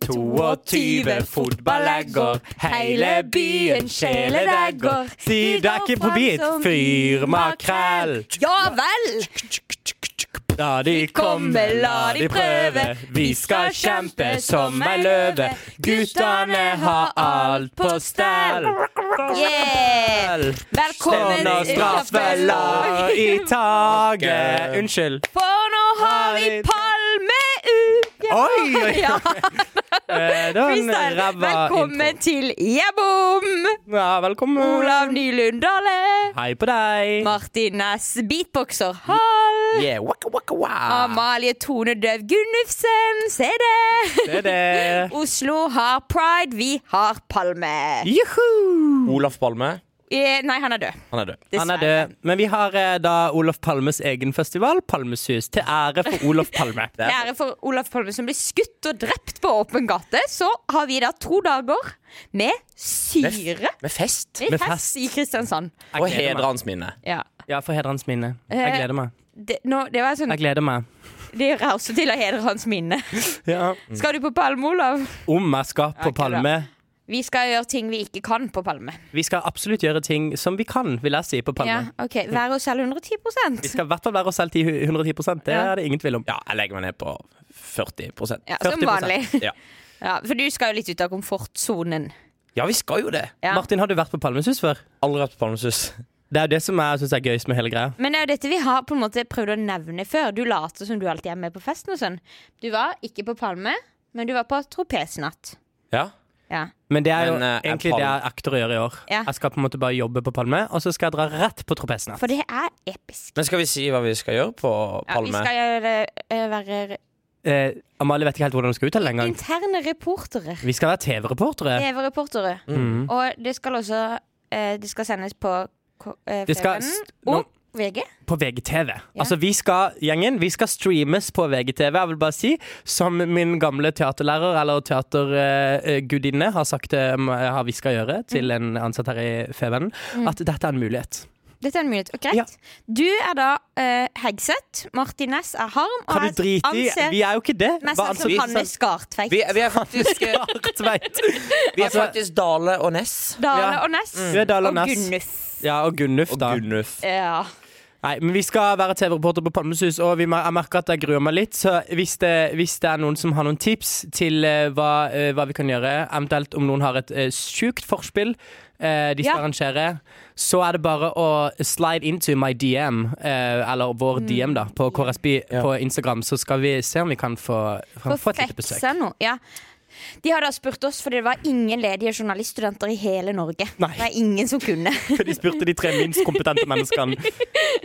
22 fotballegger, hele byen kjæledegger. Si det er ikke forbi et fyr makrell. Ja vel! La de komme, la de prøve. Vi skal kjempe som ei løve. Guttene har alt på stell. Yeah! Velkommen Stevner straffelag i taket. Unnskyld. For nå har vi palmeuke! Oi, oi, oi. Ja, Eh, Det var en freestyle. ræva Velkommen intro. til Jebom! Ja, velkommen. Olav Nylund Dale. Hei på deg. Martin Næss, beatboxer. Hall. Yeah, waka, waka, Ah, wa. Amalie Tone Døv Gunnufsen. Se det! Det er det. Oslo har pride, vi har Palme. Juhu! Olaf Palme, Eh, Nei, han er død. han er død. Han er død. Men vi har eh, da Olof Palmes egen festival, Palmesus, til ære for Olof Palme. Til ære for Olaf Palme, som ble skutt og drept på åpen gate, så har vi da to dager med syre. Med fest. Med Med fest fest. i Kristiansand. Jeg Og gleder meg. hedre hans minne. Ja. Ja, for hedre hans minne. Eh. Jeg gleder meg. Det, nå, det, var sånn, Jeg gleder meg. det gjør jeg også til å hedre hans minne. Skal du på Palme, Olav? Om jeg skal på ikke Palme. Vi skal gjøre ting vi ikke kan på Palme. Vi skal absolutt gjøre ting som vi kan, vil jeg si, på Ja, Palme. ok, Være oss selv 110 Vi skal i hvert fall være oss selv til 110 Det Ja. er det ingen tvil om. Ja, jeg legger meg ned på 40 ja, Som 40%. vanlig. Ja. Ja, for du skal jo litt ut av komfortsonen. ja, vi skal jo det. Ja. Martin, har du vært på Palmesus før? Aldri vært på Palmesus. Det er jo det som jeg synes er gøyest med hele greia. Men det er jo dette vi har på en måte prøvd å nevne før. Du later som du alltid er med på festen og sånn. Du var ikke på Palme, men du var på tropesnatt. Ja. Ja. Men det er jo Men, eh, er egentlig det jeg akter å gjøre i år. Ja. Jeg skal på en måte bare jobbe på Palme, og så skal jeg dra rett på tropesene. For det er episk. Men skal vi si hva vi skal gjøre på Ja, vi Palme? skal gjøre, eh, være Eh, Amalie vet ikke helt hvordan hun skal uttale det engang. interne reportere. Vi skal være TV-reportere. TV-reportere. Mm. Og det skal også eh, Det skal sendes på K- eh, Det skal FVN st- nå- og VG. På VGTV. Altså, vi skal, gjengen, vi skal streames på VGTV, jeg vil bare si. Som min gamle teaterlærer, eller teatergudinne, har sagt eh, m- har vi skal gjøre til Mm. en ansatt her i Fevennen, at dette er en mulighet. Dette er en mulighet. Og greit. Ja. Du er da eh, Hegseth. Martin Næss er Harm. og Kan jeg du drite i anser Vi er jo ikke det. meg Hva altså, selv som anser- Hanne Skartveit. Vi, vi er faktisk, eh, Skartveit. vi er faktisk Dale og Ness. Dale Ja. og Næss. Du er Dale og og Næss. Gunnuf. Ja, og Gunnuf, Og da. Gunnuf. Ja. Nei, men Vi skal være TV-reporter på Palmesus, og vi, mer- jeg merker at jeg gruer meg litt. Så hvis det, hvis det er noen som har noen tips til eh, hva, eh, hva vi kan gjøre, eventuelt om noen har et uh, sjukt forspill eh, de skal Ja. arrangere, så er det bare å slide into my DM, eh, eller vår Mm. DM, da, på KRSB på Instagram, så skal vi se om vi kan få, kan få et lite besøk. Feksa nå, Ja. De har da spurt oss, fordi det var ingen ledige journaliststudenter i hele Norge. Nei. Det er ingen som kunne. For de spurte de tre minst kompetente menneskene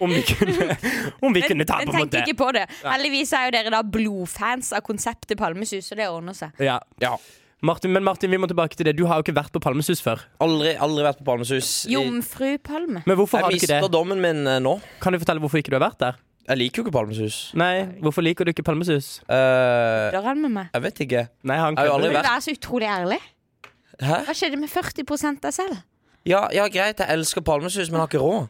om vi kunne, om vi kunne ta Men på en tenk måte. ikke på det. Heldigvis er jo dere da blodfans av konseptet Palmesus, så det ordner seg. Ja. Ja. Martin, men Martin, vi må tilbake til det. Du har jo ikke vært på Palmesus før. Aldri, aldri vært på Palmesus. Jeg, Jomfrupalme. Men hvorfor har jeg du ikke det? mister dommen min eh, nå. Kan du fortelle hvorfor ikke du har vært der? Jeg liker jo ikke Palmesus. Nei, Hvorfor liker du ikke Palmesus? Eh, Dør han med meg? jeg vet ikke. Nei, han Jeg har jo aldri kødder. Men Du er så utrolig ærlig. Hæ? Hva skjedde med 40 deg selv? Ja, ja, greit, jeg elsker Palmesus, men har ikke råd.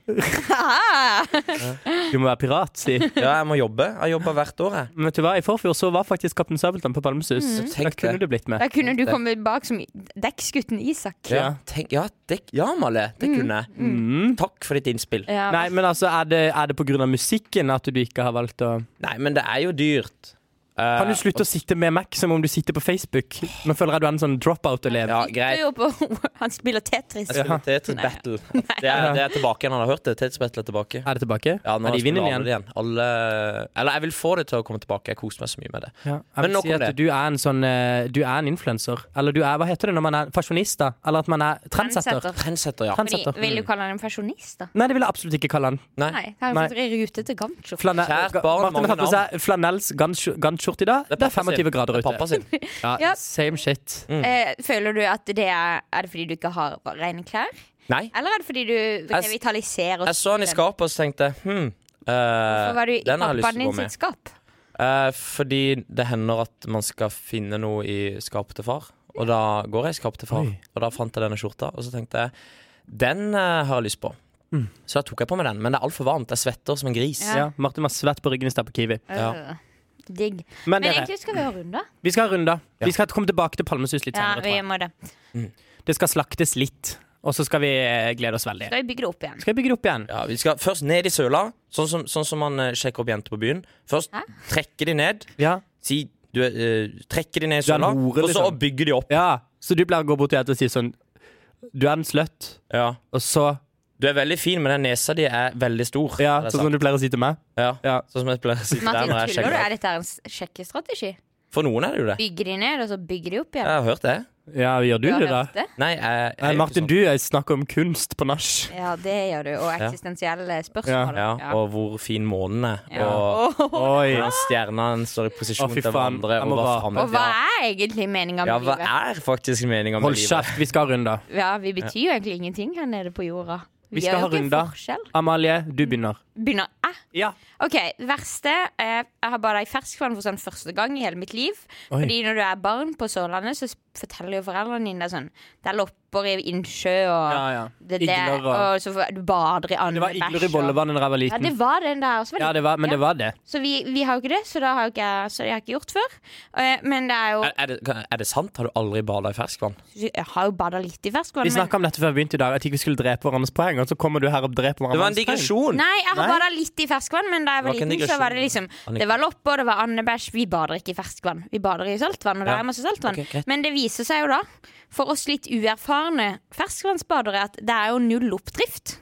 Du må være pirat, si. Ja, jeg må jobbe. Jeg jobber hvert år, jeg. Men vet du hva, I forfjor så var faktisk Kaptein Sabeltann på Palmesus. Mm. Da Tenk kunne det. du blitt med. Da kunne du komme bak som dekksgutten Isak. Ja, tenk, ja, det, ja Amalie, det kunne jeg. Takk for ditt innspill. Ja. Mm. Nei, men altså, Er det, er det pga. musikken at du ikke har valgt å Nei, men det er jo dyrt. Eh, Kan du slutte å sitte med Mac som om du sitter på Facebook? Nå føler jeg du er en sånn dropout-elev. Ja, Du er greit. jo på- Han spiller Tetris. Jeg Altså, skal til Tetris Battle. Det er, det er tilbake igjen. Han har hørt det. Tetris Battle er tilbake. Er det tilbake? Ja, nå er de spiller vinnende alle igjen? det igjen. Alle, eller jeg vil få det til å komme tilbake. Jeg koser meg så mye med det. Ja. Jeg Men vil nok si om at det. du er en sånn eh, Du er en influenser. Eller du er, hva heter det når man er fasjonist, da? Eller at man er trendsetter. Trendsetter, ja. Trendsetter. Fordi, vil du kalle han en fasjonist, da? Nei, det vil jeg absolutt ikke kalle han. Nei. Nei. Han Nei. er i rute til Gancho. Flanell, Kjært barn, Martin har mange tatt på seg flanells gantskjorte i dag. Det er pappa 25 sin. grader Det er ute. pappa sin. Ja, Ja. Same shit. Mm. Eh, føler du at det er Er det fordi du ikke har rene klær? Nei. Eller er det fordi du revitaliserer Jeg så han i skapet og så tenkte jeg, hm, eh, Hvorfor var du i den har jeg lyst pappaen til å din gå sitt med. skap? Eh, fordi det hender at man skal finne noe i skapet til far. Og da går jeg i skapet til far, Oi. og da fant jeg denne skjorta. Og så tenkte jeg den eh, har jeg lyst på. Mm. Så da tok jeg på meg den. Men det er altfor varmt. Jeg svetter som en gris. Ja. Ja, Martin var svett på ryggen i stad på Kiwi. Ja. Øh. Digg. Men Men dere, egentlig skal vi ha runder. vi skal ha runder. Ja. Vi skal komme tilbake til Palmesus litt Ja, senere. vi tror jeg. må det. Det skal slaktes litt, og så skal vi eh, glede oss veldig. Skal vi bygge det opp igjen? Skal vi bygge det opp igjen? Ja, vi skal først ned i søla, sånn som, sånn som man eh, sjekker opp jenter på byen. Først Hæ? trekker de ned. Ja. Si du er, eh, Trekker de ned i Du er en søla, hore, og så liksom. bygger de opp. ja. Så du pleier å gå bort til henne og si sånn Du er en slutt, Ja. og så Du er veldig fin, men den nesa di er veldig stor. Ja, Det er sånn som sant. du pleier å si til meg. ja. Ja. sånn som jeg pleier å si til deg Martin, når tuller du? jeg sjekker opp. Er dette en s- sjekkestrategi? For noen er det jo det. Bygger de ned, og så bygger de opp igjen? Jeg har hørt det. Ja, gjør du Har det, da? hørt det? Nei, jeg, jeg, Nei, er jo Martin, ikke sånn. du jeg snakker om kunst på nach. Ja, det gjør du. Og eksistensielle spørsmål. sånn. ja, Og hvor fin månen er. Og Og, Oi. hvordan stjernene står i posisjon Å, fy til faen. hverandre. Jeg må Og hva bare- og hva er egentlig meninga Ja, med hva livet? er faktisk meninga med Hold livet? kjeft, vi skal ha runder. Ja, Vi betyr jo egentlig ingenting her nede på jorda. Vi skal ha gjør jo ikke en runder. forskjell. Amalie, du begynner. Begynner jeg? Ja. OK, verste eh, Jeg har bare i ferskvann for sånn første gang i hele mitt liv. Oi. Fordi når du er barn på Sørlandet, så s- forteller jo foreldrene dine deg sånn Det er lopper i innsjø, og Ja, ja. det, det, Igler og- og så får- du bader i Det var andebæsj. igler i bollevannet da jeg var Ja, liten. det var den der også. var det Ja, det var, men Ja. det var det. Så vi, vi har jo ikke det, så, da har jo ikke, jeg- så det har jeg ikke gjort før. Eh, Men det er jo Er, er, det, er det sant? Har du aldri bada i ferskvann? Jeg har jo bada litt i ferskvann. Vi men- snakka om dette før vi begynte i dag, at ikke vi skulle drepe hverandres poeng, og så kommer du her og dreper Det var hverandres en digresjon! Nei, jeg har Nei? bada litt i ferskvann, men da jeg var Det var ikke en liten, så var det liksom digresjon. Det var lopper, det var andebæsj. Vi bader ikke i ferskvann. Vi bader i saltvann, og der Ja. er masse saltvann. Ok, greit. Men det viser seg jo da, for oss litt uerfarne ferskvannsbadere, at det er jo null oppdrift.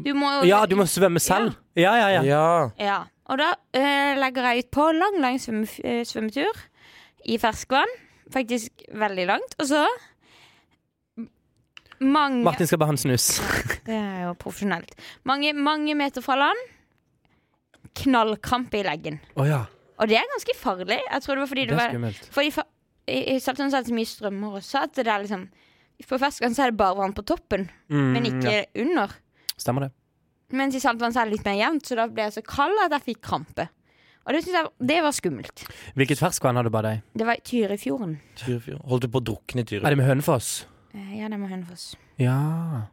Du må jo Ja, du må svømme selv. Ja, ja, ja. Ja. Ja, og da eh, legger jeg ut på lang, lang svømmef- eh, svømmetur i ferskvann. Faktisk veldig langt. Og så mange, Martin skal bare ha en snus. Det er jo profesjonelt. Mange, mange meter fra land. Knallkrampe i leggen. Å ja. Og det er ganske farlig. Jeg tror det var fordi det, Det er var skummelt. fordi fa I i Saltvann så er det så mye strømmer også at det er liksom På ferskvann så er det bare vann på toppen, Mm, men ikke ja. under. Stemmer det. Mens i saltvann så er det litt mer jevnt, så da ble jeg så kald at jeg fikk krampe. Og det synes jeg det var skummelt. Hvilket ferskvann har du bada i? Det var i Tyrifjorden. Tyrifjorden. Holdt du på å drukne i Er Tyrifjorden? det med Hønefoss? Eh, Ja, det må Hønefoss. Ja.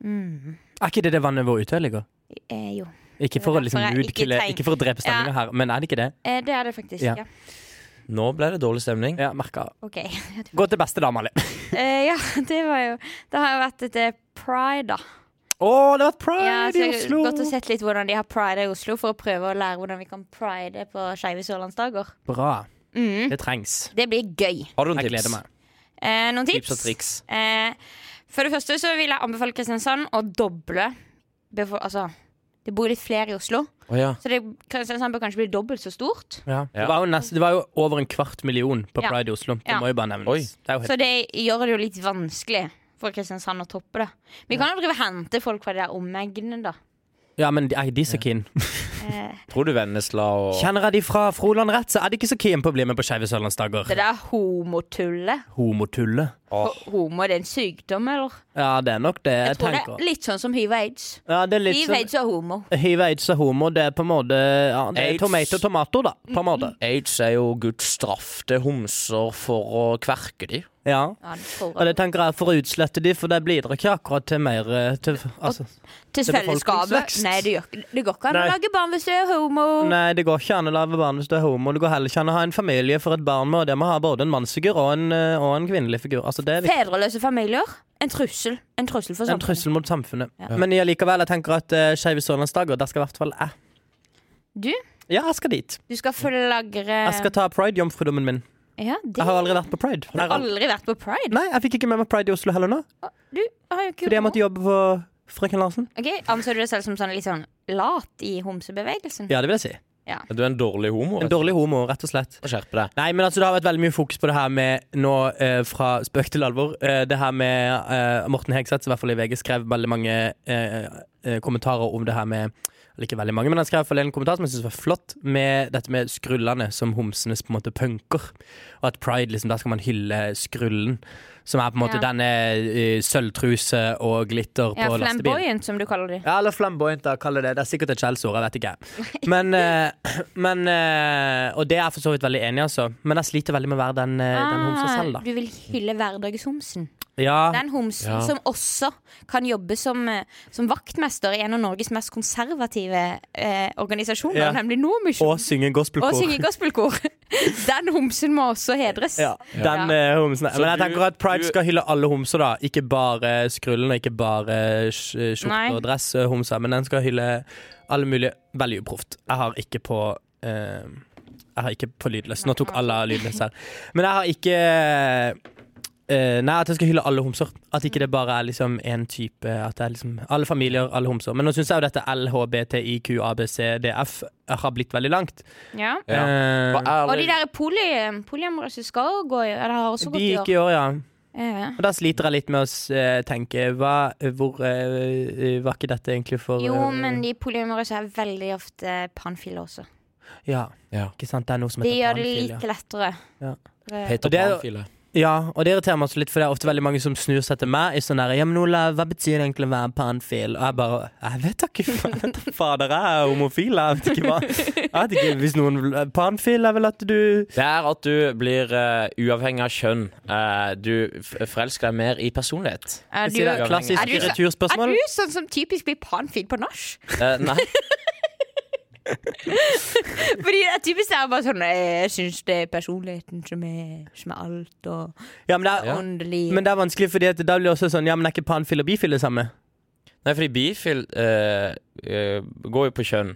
Mm. Er ikke det det vannet hvor Utøya ligger? Eh, jo. Ikke Det er for å derfor liksom jeg ikke moodkille, tenk- ikke for å drepe stemninga her, men er det ikke det? Eh, det er det faktisk. Ja. Ja. Nå ble det dårlig stemning. Ja, merka. OK. Gå til beste dame, Ali. Eh, ja, det var jo Det har jo vært et eh, pride, da. Å, det har vært pride Ja, så i jeg har Oslo! gått og sett litt hvordan de har pride i Oslo, for å prøve å lære hvordan vi kan pride på skeive sørlandsdager. Bra. Mm. Det trengs. Det blir gøy. Har du noen Jeg tips? gleder meg. Eh, noen tips? Tips og triks. Eh, for det første så vil jeg anbefale Kristiansand å doble befo- Altså, det bor litt flere i Oslo, Å ja. så det, Kristiansand bør kanskje bli dobbelt så stort. Ja. Ja. Det, var jo nesten, det var jo over en kvart million på Ja. Pride i Oslo. Det Ja. må jo bare nevnes. Oi. Det er jo Så helt det gjør det jo litt vanskelig for Kristiansand å toppe det. Vi kan jo drive og hente folk fra de der omegnene, da. Ja, men er de så keen? Eh, Tror du Vennesla og Kjenner jeg de fra Froland rett, så er de ikke så keen på å bli med på Skeive sørlandsdager. det der homotullet. Homotulle. Åh, Ho- Homo, det er en sykdom, eller? Ja, det er nok det jeg, Jeg tror det tenker. er litt sånn som hiv og aids. Ja, det er litt Hiv, sånn aids og homo. Hiv, aids og homo, det er på en måte ja, Det er Aids. tomato, tomato, da. På en måte. Aids er jo Guds straff til homser for å kverke de. Ja. Ja, det tror Og det jeg. tenker jeg for å utslette de, for det blir dere ikke akkurat til mer eh, til, altså, Til det er fellesskapet. befolkningsvekst. Nei, det, gjør, ikke- det går ikke an å Nei. lage barn hvis du er homo. Nei, det går ikke an å lage barn hvis du er homo. Det går heller ikke an å ha en familie for et barn med, og det må ha både en mannsfigur og en, eh, og en kvinnelig figur. Altså, det er liksom Fedreløse familier. En trussel. En trussel for en samfunnet. trussel mot samfunnet. sånn. Ja. Men jeg likevel, jeg tenker at uh, Skeive sørlandsdager, der skal i hvert fall jeg. Du, Ja, jeg skal dit. du skal flagre Jeg skal ta pride-jomfrudommen min. Ja, Eh. det Jeg har aldri vært på pride. Jeg har har aldri... aldri vært på pride. Nei, jeg fikk ikke med meg pride i Oslo heller nå, Du har jo ikke fordi jeg gjort måtte jobbe for frøken Larsen. noe. Ok, Anser du deg selv som sånn litt sånn lat i homsebevegelsen? Ja, det vil jeg si. Du er en dårlig homo. En dårlig homo, rett og slett. Skjerp deg. Nei, men altså, Det har vært veldig mye fokus på det her med nå eh, fra spøk til alvor. Eh, det her med eh, Morten Hegseth, som i hvert fall i VG skrev veldig mange eh, eh, kommentarer om det her med eller ikke veldig mange, men Han skrev i hvert fall en kommentar som jeg synes var flott, med dette med skrullene som homsenes på en måte punker. Og at pride, liksom, der skal man hylle skrullen. som er på en måte Ja. denne eh, sølvtruse og glitter Ja, på lastebil. flamboyant, som du kaller de. Ja, eller flamboyant, da, kall det det. Det er sikkert et skjellsord, jeg vet ikke. Men, eh, men eh, Og det er jeg for så vidt veldig enig i, altså. Men jeg sliter veldig med å være den, eh, Ah. den homsa selv, da. Ah. du vil hylle hverdagshomsen. Ja, Den homsen Ja. som også kan jobbe som, eh, som vaktmester i en av Norges mest konservative eh, organisasjoner, Ja. nemlig Nordmisjon. og synge Og gospelkor. synge gospelkor. Den homsen må også hedres. Ja, den eh, homsen. Så Men jeg du- tenker at Pride du- skal hylle alle homser, da. Ikke bare skrullen og ikke bare sk- Nei. skjorte- og dress-homser. Men den skal hylle alle mulige Veldig uproft. Jeg har ikke på eh, Jeg har ikke på lydløs. Nå tok alle lydløs her. Men jeg har ikke eh, nei, at jeg skal hylle alle homser. At ikke det bare er liksom én type. At det er liksom Alle familier, alle homser. Men nå syns jeg jo dette LHBTIQABCDF har blitt veldig langt. Ja. Ja. Eh, Hva er Og de det- der poly, polyamorøse skal jo gå i Eller har også de gått i år. gikk i år, ja. Eh, Og Da sliter jeg litt med å s- eh, tenke hva, hvor eh, Var ikke dette egentlig for Jo, eh, men de polyamorøse er veldig ofte panfile også. Ja, Ja. ikke sant. Det er noe som Det heter gjør det panfil, ja. litt lettere. Eh, Ja. Det- Peter Og det er jo- Panfile. ja. Og det irriterer meg også litt, for det er ofte veldig mange som snur seg til meg i sånn her Ja, men Ola, hva betyr det egentlig å være panfil? Og jeg bare Jeg vet da ikke, fa- jeg vet da fader. Jeg er homofil, jeg vet ikke hva Jeg vet ikke hvis noen eh, Panfil er vel at du Det er at du blir eh, uavhengig av kjønn. Eh, du f- forelsker deg mer i personlighet. Er Sier det du, jo- Klassisk Er du så- er returspørsmål. du sånn som typisk blir panfil på nach? Eh, nei. Fordi det er typisk det er bare sånn eh, Jeg syns det er personligheten som er, som er alt, og Ja, men det er, åndelig men det er vanskelig, fordi at da blir det også sånn Ja, men er ikke panfil og bifil det samme? nei, fordi bifil eh, eh, går jo på kjønn.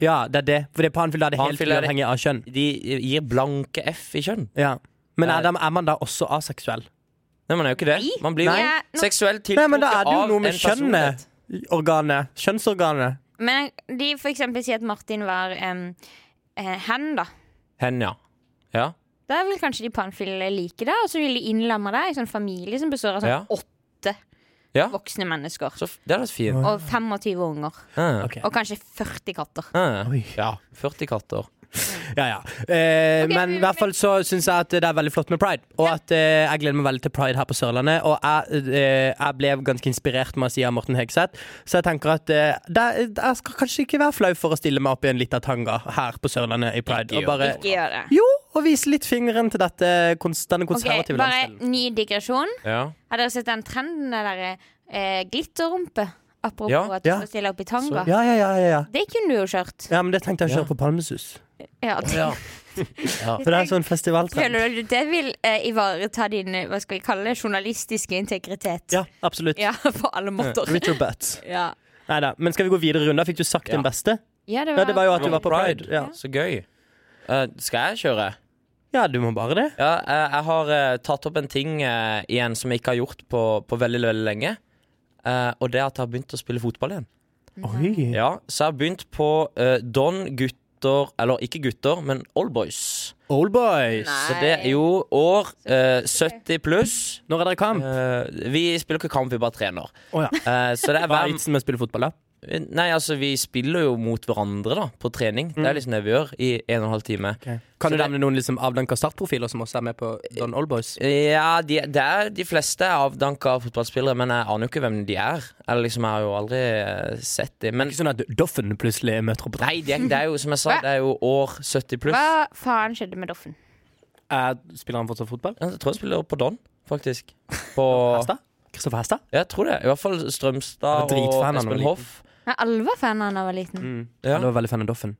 Ja, det er det. Fordi panfil da er det helt Panfil er det- uavhengig av kjønn. De gir blanke F i kjønn. Ja. Men er, Eh, da- er man da også aseksuell? Nei, man er jo ikke det. Man blir jo Nei. Ja, nå- seksuelt Nei, men tiltrukket da er det jo av noe en med kjønnet. personlighet. Organet. Kjønnsorganet. Men de for eksempel sier at Martin var em, eh, hen, da. Hen, ja. Ja. Da vil kanskje de panfile like det, og så vil de innlamme deg i sånn familie som består av sånn Ja. åtte Ja. voksne mennesker. Så f- det er litt fint. Og 25 unger. Eh, Ok. Og kanskje 40 katter. eh. Oi. Ja. 40 katter. Ja, ja. Eh, Ok, men i men- hvert fall så syns jeg at det er veldig flott med pride. Og at eh, jeg gleder meg veldig til pride her på Sørlandet. Og jeg, eh, jeg ble ganske inspirert med å si av Morten Hegseth, så jeg tenker at eh, det, jeg skal kanskje ikke være flau for å stille meg opp i en lita tanga her på Sørlandet i pride. Ikke Og bare Ikke gjør det. Jo, og vise litt fingeren til dette, kons- denne Ok, konservative bare landsdelen. ny digresjon. Ja. Har dere sett den trenden der eh, glitterrumpe? Apropos Ja, at du ja. skal stille opp i tanga. Ja, ja, ja, ja, ja. Det kunne du jo kjørt. ja, men det tenkte jeg å Ja. kjøre på Palmesus. Ja. ja. For det er en sånn festivaltrend. Føler du at det vil eh, ivareta din eh, hva skal vi kalle det, journalistiske integritet? Ja, absolutt. Ja, på alle måter. Richard Butts. Ja, Neida, Men skal vi gå videre runde? Fikk du sagt Ja. din beste? ja det Ja, var, det var jo at du Det var var på Pride. Ja, Så gøy. Eh, skal jeg kjøre? ja du må bare det. Ja, eh, jeg har eh, tatt opp en ting eh, igjen som jeg ikke har gjort på, på veldig, veldig lenge. Eh, og det er at jeg har begynt å spille fotball igjen. Mhm. Oi. Ja, Så jeg har begynt på eh, Don gutter, eller ikke gutter, men Old Boys. Old boys. Nei. Så det er jo år eh, 70 pluss. Når er dere kamp? Eh, vi spiller ikke kamp, vi bare trener. Å, ja. Eh, så det er Hva er hver vitsen med å spille fotball, da? Nei, altså, vi spiller jo mot hverandre, da, på trening. Mm. Det er liksom det vi gjør i en og en halv time. Kan Så du det- nevne noen liksom, avdanka startprofiler som også er med på Don Old Boys? Ja, de, det er, de fleste er avdanka fotballspillere, men jeg aner jo ikke hvem de er. Eller liksom, Jeg har jo aldri eh, sett dem. Men Ikke sånn at Doffen plutselig møter opp på nei, det er, det er jo som jeg sa, Hva? det er jo år 70 pluss. Hva faen skjedde med Doffen? Eh, Spiller han fortsatt fotball? Jeg tror jeg spiller på Don, faktisk. På Hestad? Kristoffer Hestad? Jeg tror det. I hvert fall Jeg var Strømstad dritfan av og han da jeg Espen var Hoff. Ja, Alle var fan av han da jeg var liten. Mm. Mm. Ja. Han var veldig fan av Doffen.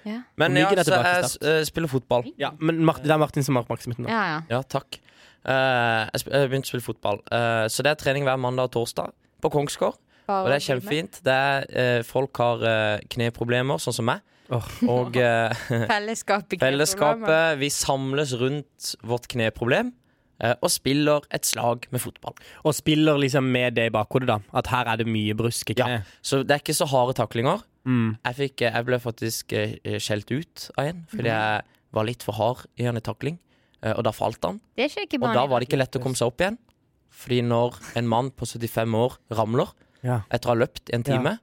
Ja. Hvor Men ja, ligger det så tilbake jeg start? eh, spiller fotball. Ja, men Martin, Det er Martin som har oppmerksomheten. nå. Ja, ja. Ja, takk. Eh, jeg sp- jeg begynte å spille fotball. Eh, så det er trening hver mandag og torsdag på Kongsgård. Bare Og å bli det er med. kjempefint. Det er, eh, folk har eh, kneproblemer, sånn som meg. Åh. Og eh, Fellesskapet. ikke problemer. Fellesskapet, vi samles rundt vårt kneproblem eh, og spiller et slag med fotball. Og spiller liksom med det i bakhodet, da. At her er det mye brusk. Ikke? Ja. Så det er ikke så harde taklinger. Mm. Jeg, fikk, eh, jeg ble faktisk eh, skjelt ut av en fordi jeg var litt for hard i en takling, eh, og da falt han. Det skjer ikke Og da vanlig. var det ikke lett å komme seg opp igjen. Fordi når en mann på 75 år ramler Ja. etter å ha løpt i en time,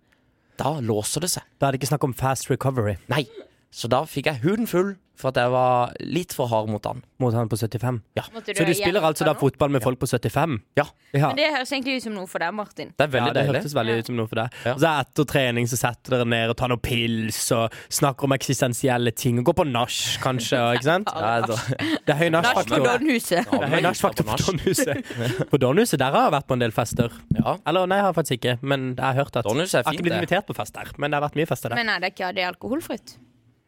da låser det seg. Da er det ikke snakk om fast recovery. Nei. Så da fikk jeg huden full for at jeg var litt for hard mot han. Mot han på 75. Måtte Så du spiller hjelpe altså da nå? fotball med folk på 75? Ja. ja. Men det høres egentlig ut som noe for deg, Martin. Det er veldig ja, det deilig. hørtes veldig ut som noe for deg. Ja. Og så etter trening så setter dere ned og tar noen pils og snakker om eksistensielle ting. Og går på nach, kanskje. og- Ikke sant? Ja, da- Det er høy Nach på nach-faktor. Donhuset. Det er høy nach-faktor på Donhuset. På Donhuset der har jeg vært på en del fester. Ja. Eller nei, jeg har faktisk ikke. Men jeg har hørt at Donhuset er Jeg har fint, ikke blitt det. invitert på fest der, men det har vært mye fester der. Men er det ikke det er alkoholfritt?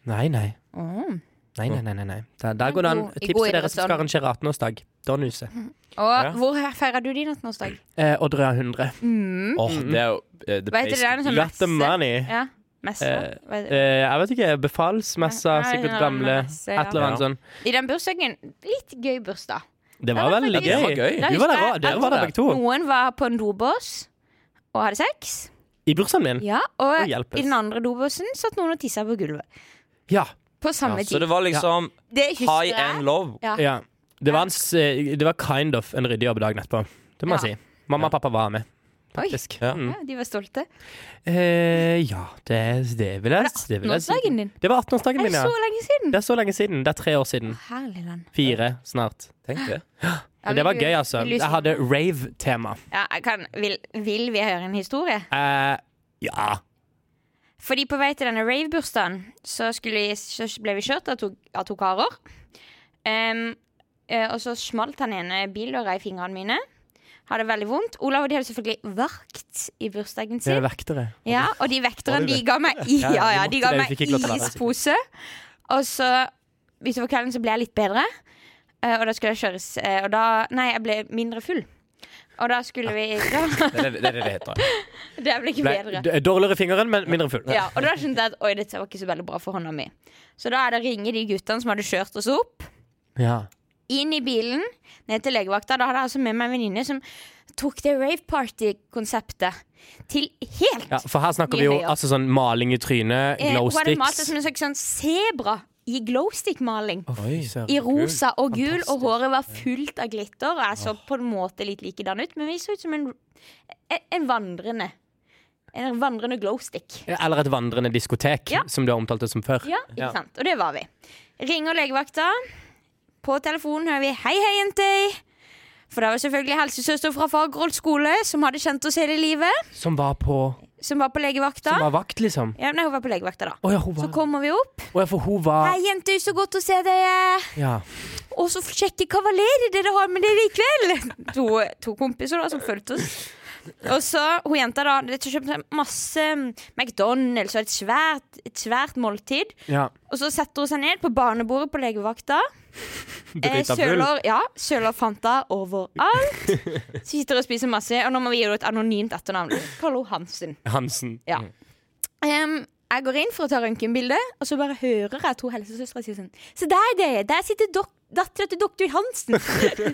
Nei, nei. Mm. Nei, nei, nei, nei, nei. Der, der går det an. God- Tips god til dere som skal idrettsånd. arrangere 18-årsdag. Donhuset. Og Ja. hvor feirer du din 18-årsdag? Eh, Odderøya 100. Åh, Mm-hmm. det er jo eh, the Mm. Hva heter det? basic. Er det en sånn Got the messe? money. Ja, messe. Eh, Hva heter det? Eh, jeg vet ikke. Befalsmessa, Nei, nei, sikkert nei, gamle. nei, messe, Et ja. eller annet Ja. sånn. I den bursdagen Litt gøy bursdag. Det var Ja, det veldig var gøy. faktisk- Det var gøy. Du var der, Da husker også. jeg dere var der at- begge to. Noen var på en dobås og hadde sex. I bursdagen min. Ja, og Å, hjelpes. i den andre dobåsen satt noen og tissa på gulvet. Ja. På samme Ja, så tid. det var liksom Det husker high and low. Ja. ja. Det, var en, s- det var kind of en ryddig jobb dagen etterpå. Det må Ja. jeg si. Mamma og pappa var med, Oi. faktisk. Ja. Mm. Ja, de var stolte. Eh, ja, det, det vil jeg Altså, det vil jeg si. Nåsdagen din. Det var 18-årsdagen Er min, det ja. så lenge siden? Det er så lenge siden. Det er tre år siden. Herlig land. Fire snart. Tenk det. Ja, Men det var vil du- gøy, altså. vil du- Jeg hadde rave-tema. ja, jeg kan, vil, vil vi høre en historie? Eh, ja. Fordi på vei til denne rave-bursdagen så, skulle vi- så ble vi kjørt av to, av to karer. Em, eh, og så smalt han ene bildøra i fingrene mine. Hadde veldig vondt. Olav og de hadde selvfølgelig vakt i bursdagen Det sin. Eh, vektere. Ja, og de vekterne, Var det de ga meg i, Ja, ja, ja, de de måtte ga det, meg vi fikk ikke lov til å være der. ispose. Og så utover kvelden så ble jeg litt bedre, eh, og da skulle jeg kjøres eh, Og da Nei, jeg ble mindre full. Og da skulle vi da, Det er det det, er det, det heter. Det ble ikke Ble bedre. d- dårligere i fingeren, men mindre full. Ja, og da skjønte jeg at oi, dette var ikke så veldig bra for hånda mi. Så da er det å ringe de guttene som hadde kjørt oss opp, Ja. inn i bilen, ned til legevakta. Da hadde jeg altså med meg en venninne som tok det rave party-konseptet til helt Ja, for her snakker vi jo Mye høyere. altså sånn maling i trynet, Eh, glow Hun hadde malt det sticks som en slags sånn sebra i glowstick-maling. Oi, søren. I rosa og gul, Fantastisk. og håret var fullt av glitter. Og jeg så på en måte litt likedan ut, men vi så ut som en, en, en vandrende En vandrende glowstick. Eller et vandrende diskotek, Ja. som du har omtalt det som før. Ja, ikke Ja. sant? Og det var vi. Ringer legevakta. På telefonen hører vi 'hei, hei, jenter'. For det var selvfølgelig helsesøster fra Fagerholt skole som hadde kjent oss hele livet, Som var på som var på legevakta. Som var vakt, liksom. Ja, nei, hun var på legevakta, da. Å ja, hun Så var kommer vi opp. Å ja, for hun var 'Hei, jenter, så godt å se dere'. Ja. Og så sjekke kavalerer dere har med dere i kveld! To, to kompiser da, som fulgte oss. Og så hun jenta da det kjøpte seg masse McDonald's og et svært, et svært måltid. ja. Og så setter hun seg ned på barnebordet på legevakta. Eh, Drita full. søler, ja, søler Fanta overalt. Så sitter og spiser masse. Og nå må vi gi henne et anonymt etternavn. Kall henne Hansen. Hansen. Ja. Mm. Em, jeg går inn for å ta røntgenbilde, og så bare hører jeg to helsesøstre si sånn Se der, dere! Der sitter dok dattera til doktor Hansen.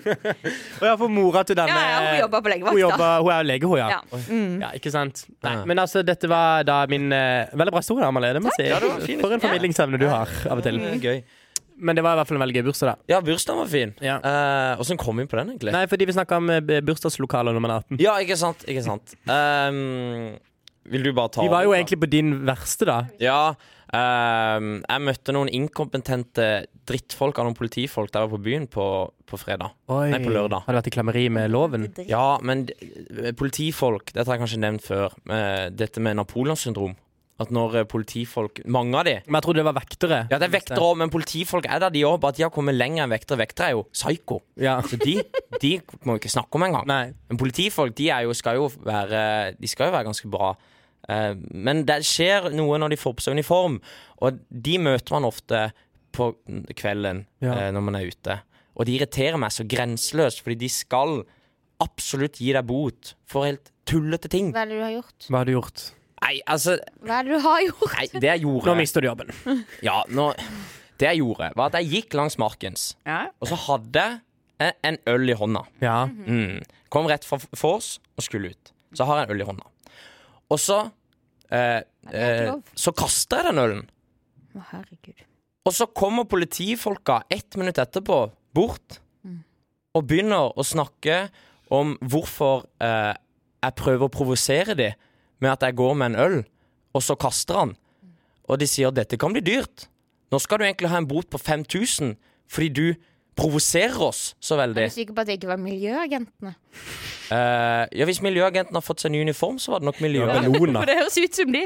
Å ja, for mora til denne Ja, ja, hun jobber på Hun, legevakta. jobber, hun er jo lege, hun, ja. Ja. Mm. Ja, ikke sant? Nei, Ja. men altså, dette var da min eh, Veldig bra historie, Amalie. Det må jeg si. Ja, det var en fin For en historie. formidlingsevne du har av og til. Mm. Det er Gøy. Men det var i hvert fall en veldig gøy bursdag, da. Ja, bursdagen var fin. Ja. Eh, Åssen kom vi inn på den, egentlig? Nei, fordi vi snakka om eh, bursdagslokaler når man er 18. Ja, ikke sant? Ikke sant. Ehm, vil du bare ta Vi var jo over, da? egentlig på din verste, da. Ja. ehm, jeg møtte noen inkompetente drittfolk av noen politifolk der jeg var på byen på, på fredag. Oi. Nei, på lørdag. Har du vært i klammeri med loven? Ja, men d- eh, politifolk Dette har jeg kanskje nevnt før. eh, dette med Napoleonssyndrom. At når eh, politifolk Mange av de Men jeg trodde det var vektere. Ja, det er vektere òg, men politifolk er der, de òg. Bare at de har kommet lenger enn vektere. Vektere er jo psyko. Ja. Så de, de må vi ikke snakke om engang. Nei. Men politifolk de er jo, skal, jo være, de skal jo være ganske bra. Eh, Men det skjer noe når de får på seg uniform, og de møter man ofte på kvelden Ja. eh, når man er ute. Og de irriterer meg så grenseløst, fordi de skal absolutt gi deg bot for helt tullete ting. Hva er det du har gjort? Hva har du gjort? Nei, altså Hva er det du har gjort? Nei, det jeg Nå gjorde mister du jobben. Ja, nå Det jeg gjorde, var at jeg gikk langs Markens, og så hadde jeg en øl i hånda. Ja. Mm. Kom rett fra vors og skulle ut. Så har jeg en øl i hånda. Og så eh, det er ikke eh, lov. Så kaster jeg den ølen. Å, herregud. Og så kommer politifolka ett minutt etterpå bort Mm. og begynner å snakke om hvorfor eh, jeg prøver å provosere dem med at jeg går med en øl, og så kaster han. Og de sier 'dette kan bli dyrt'. Nå skal du egentlig ha en bot på 5000 fordi du provoserer oss så Jeg veldig. er sikker på at det ikke var miljøagentene. Eh, ja, Hvis miljøagenten har fått seg ny uniform, så var det nok miljøagenten. Bellona. For det høres ut som de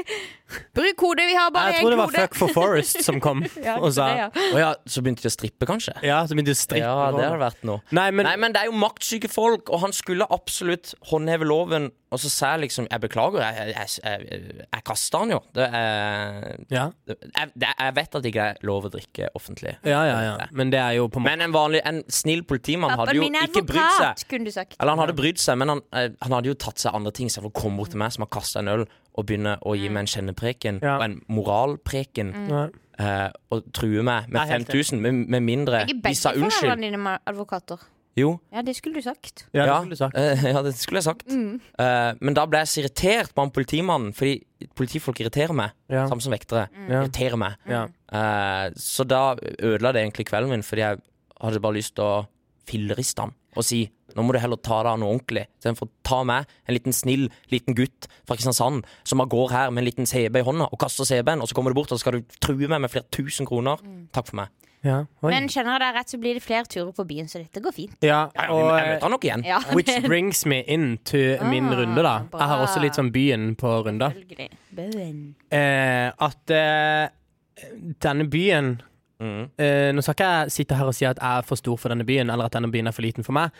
Bruk kode, vi har bare Jeg én tror det kode. var Fuck for Forest som kom Ja, og sa det, ja. Å ja, så begynte de å strippe, kanskje? Ja, så begynte du å strippe. Ja, det hadde vært noe. Nei, men, Nei, men det er jo maktsyke folk, og han skulle absolutt håndheve loven. Og så sa jeg liksom Jeg beklager, jeg, jeg, jeg, jeg kasta han jo. Det er, ja. jeg, det, jeg vet at det ikke er lov å drikke offentlig. Ja, ja, ja. Men det er jo på en måte Men en vanlig, en snill politimann hadde Pappaen jo min er ikke brydd advokat, seg. kunne du sagt. Eller han hadde brydd seg, men han, eh, han hadde jo tatt seg andre ting. Istedenfor å komme bort til meg som har kasta en øl, og begynne å Mm. gi meg en kjennepreken Ja. og en moralpreken. Nei. eh, og true meg med Nei, helt 5000, med, med mindre Ikke de sa begge unnskyld. foreldrene dine var advokater. Jo, Ja, det skulle du sagt. Ja, det ja, skulle du sagt. eh, ja, det skulle jeg sagt. Eh, men da ble jeg så irritert på han politimannen, fordi politifolk irriterer meg. Ja. Samme som vektere. Ja. Irriterer meg. Ja. Eh, så da ødela det egentlig kvelden min, fordi jeg hadde bare lyst til å filleriste han og si nå må du heller ta deg av noe ordentlig, istedenfor å ta meg, en liten snill liten gutt fra Kristiansand, som bare går her med en liten CB i hånda og kaster CB-en, og så kommer du bort og så skal du true meg med flere tusen kroner. Takk for meg. Ja. Oi. Men kjenner jeg deg rett, så blir det flere turer på byen, så dette går fint. ja, Ja, og jeg møter han nok igjen. Ja, eh, Which brings me in to min Ah, runde, da. Jeg har bra. også litt sånn byen på runder. selvfølgelig. Bøen. Eh, at eh, denne byen eh, Nå skal ikke jeg sitte her og si at jeg er for stor for denne byen, eller at denne byen er for liten for meg,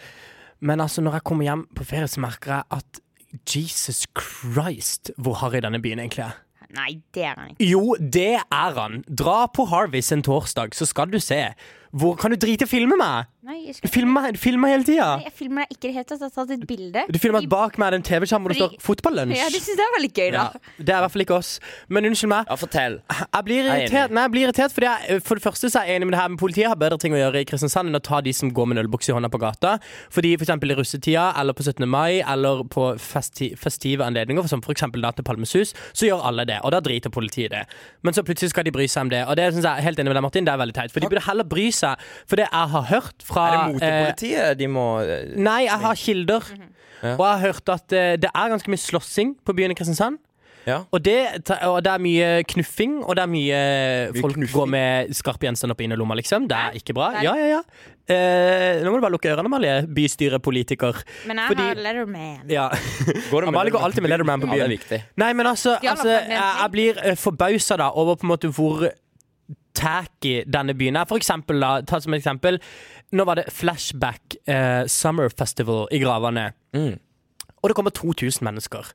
men altså, når jeg kommer hjem på ferie, så merker jeg at Jesus Christ, hvor harry denne byen egentlig er. Nei, det er han ikke. Jo, det er han. Dra på Harvis en torsdag, så skal du se. Hvor kan du drite i å filme meg? Nei, jeg, Du skal... filmer, filmer hele tida. Nei, jeg filmer deg ikke i det hele tatt. Jeg har tatt et bilde. Du filmer at bak meg er det en TV-skjerm hvor det står Fordi- 'Fotballunsj'. Ja, Det syns jeg var litt gøy, da. Ja, det er i hvert fall ikke oss. Men unnskyld meg. Ja, fortell. Jeg blir er irritert, nei, jeg blir irritert fordi jeg, eh, For det første så er jeg enig med det her Men politiet har bedre ting å gjøre i Kristiansand Enn å ta de som går med en ølboks i hånda på gata Fordi for eksempel i russetida Eller på 17. mai Eller på festi festive anledninger Som for eksempel da til Palmesus Så gjør alle det Og da driter politiet i det Men så plutselig skal de bry seg om det Og det synes jeg er helt enig med deg Martin Det er veldig teit For de burde heller bry seg For det jeg har hørt fra Er det eh, motepolitiet de må eh, Nei, jeg har kilder. Og jeg har hørt at eh, det er ganske mye slåssing på byen i Kristiansand. Ja. Og, det, ta- og det er mye knuffing, og det er mye, Mye folk knuffing. går med skarpe gjenstander opp i innerlomma, liksom. Det er ikke bra. Nei. Ja, ja, ja. Eh, nå må du bare lukke ørene, Amalie. Bystyrepolitiker. Men jeg Fordi- har Letterman. Ja. Går det med Amalie går alltid med Leatherman på Ja, det er byen. viktig. Nei, men altså, Ja, altså men- jeg, jeg blir eh, forbausa da over på en måte hvor tacky denne byen er. For eksempel, da, ta som et eksempel. Nå var det Flashback eh, Summer Festival i Gravane. Mm. Og det kommer 2000 mennesker.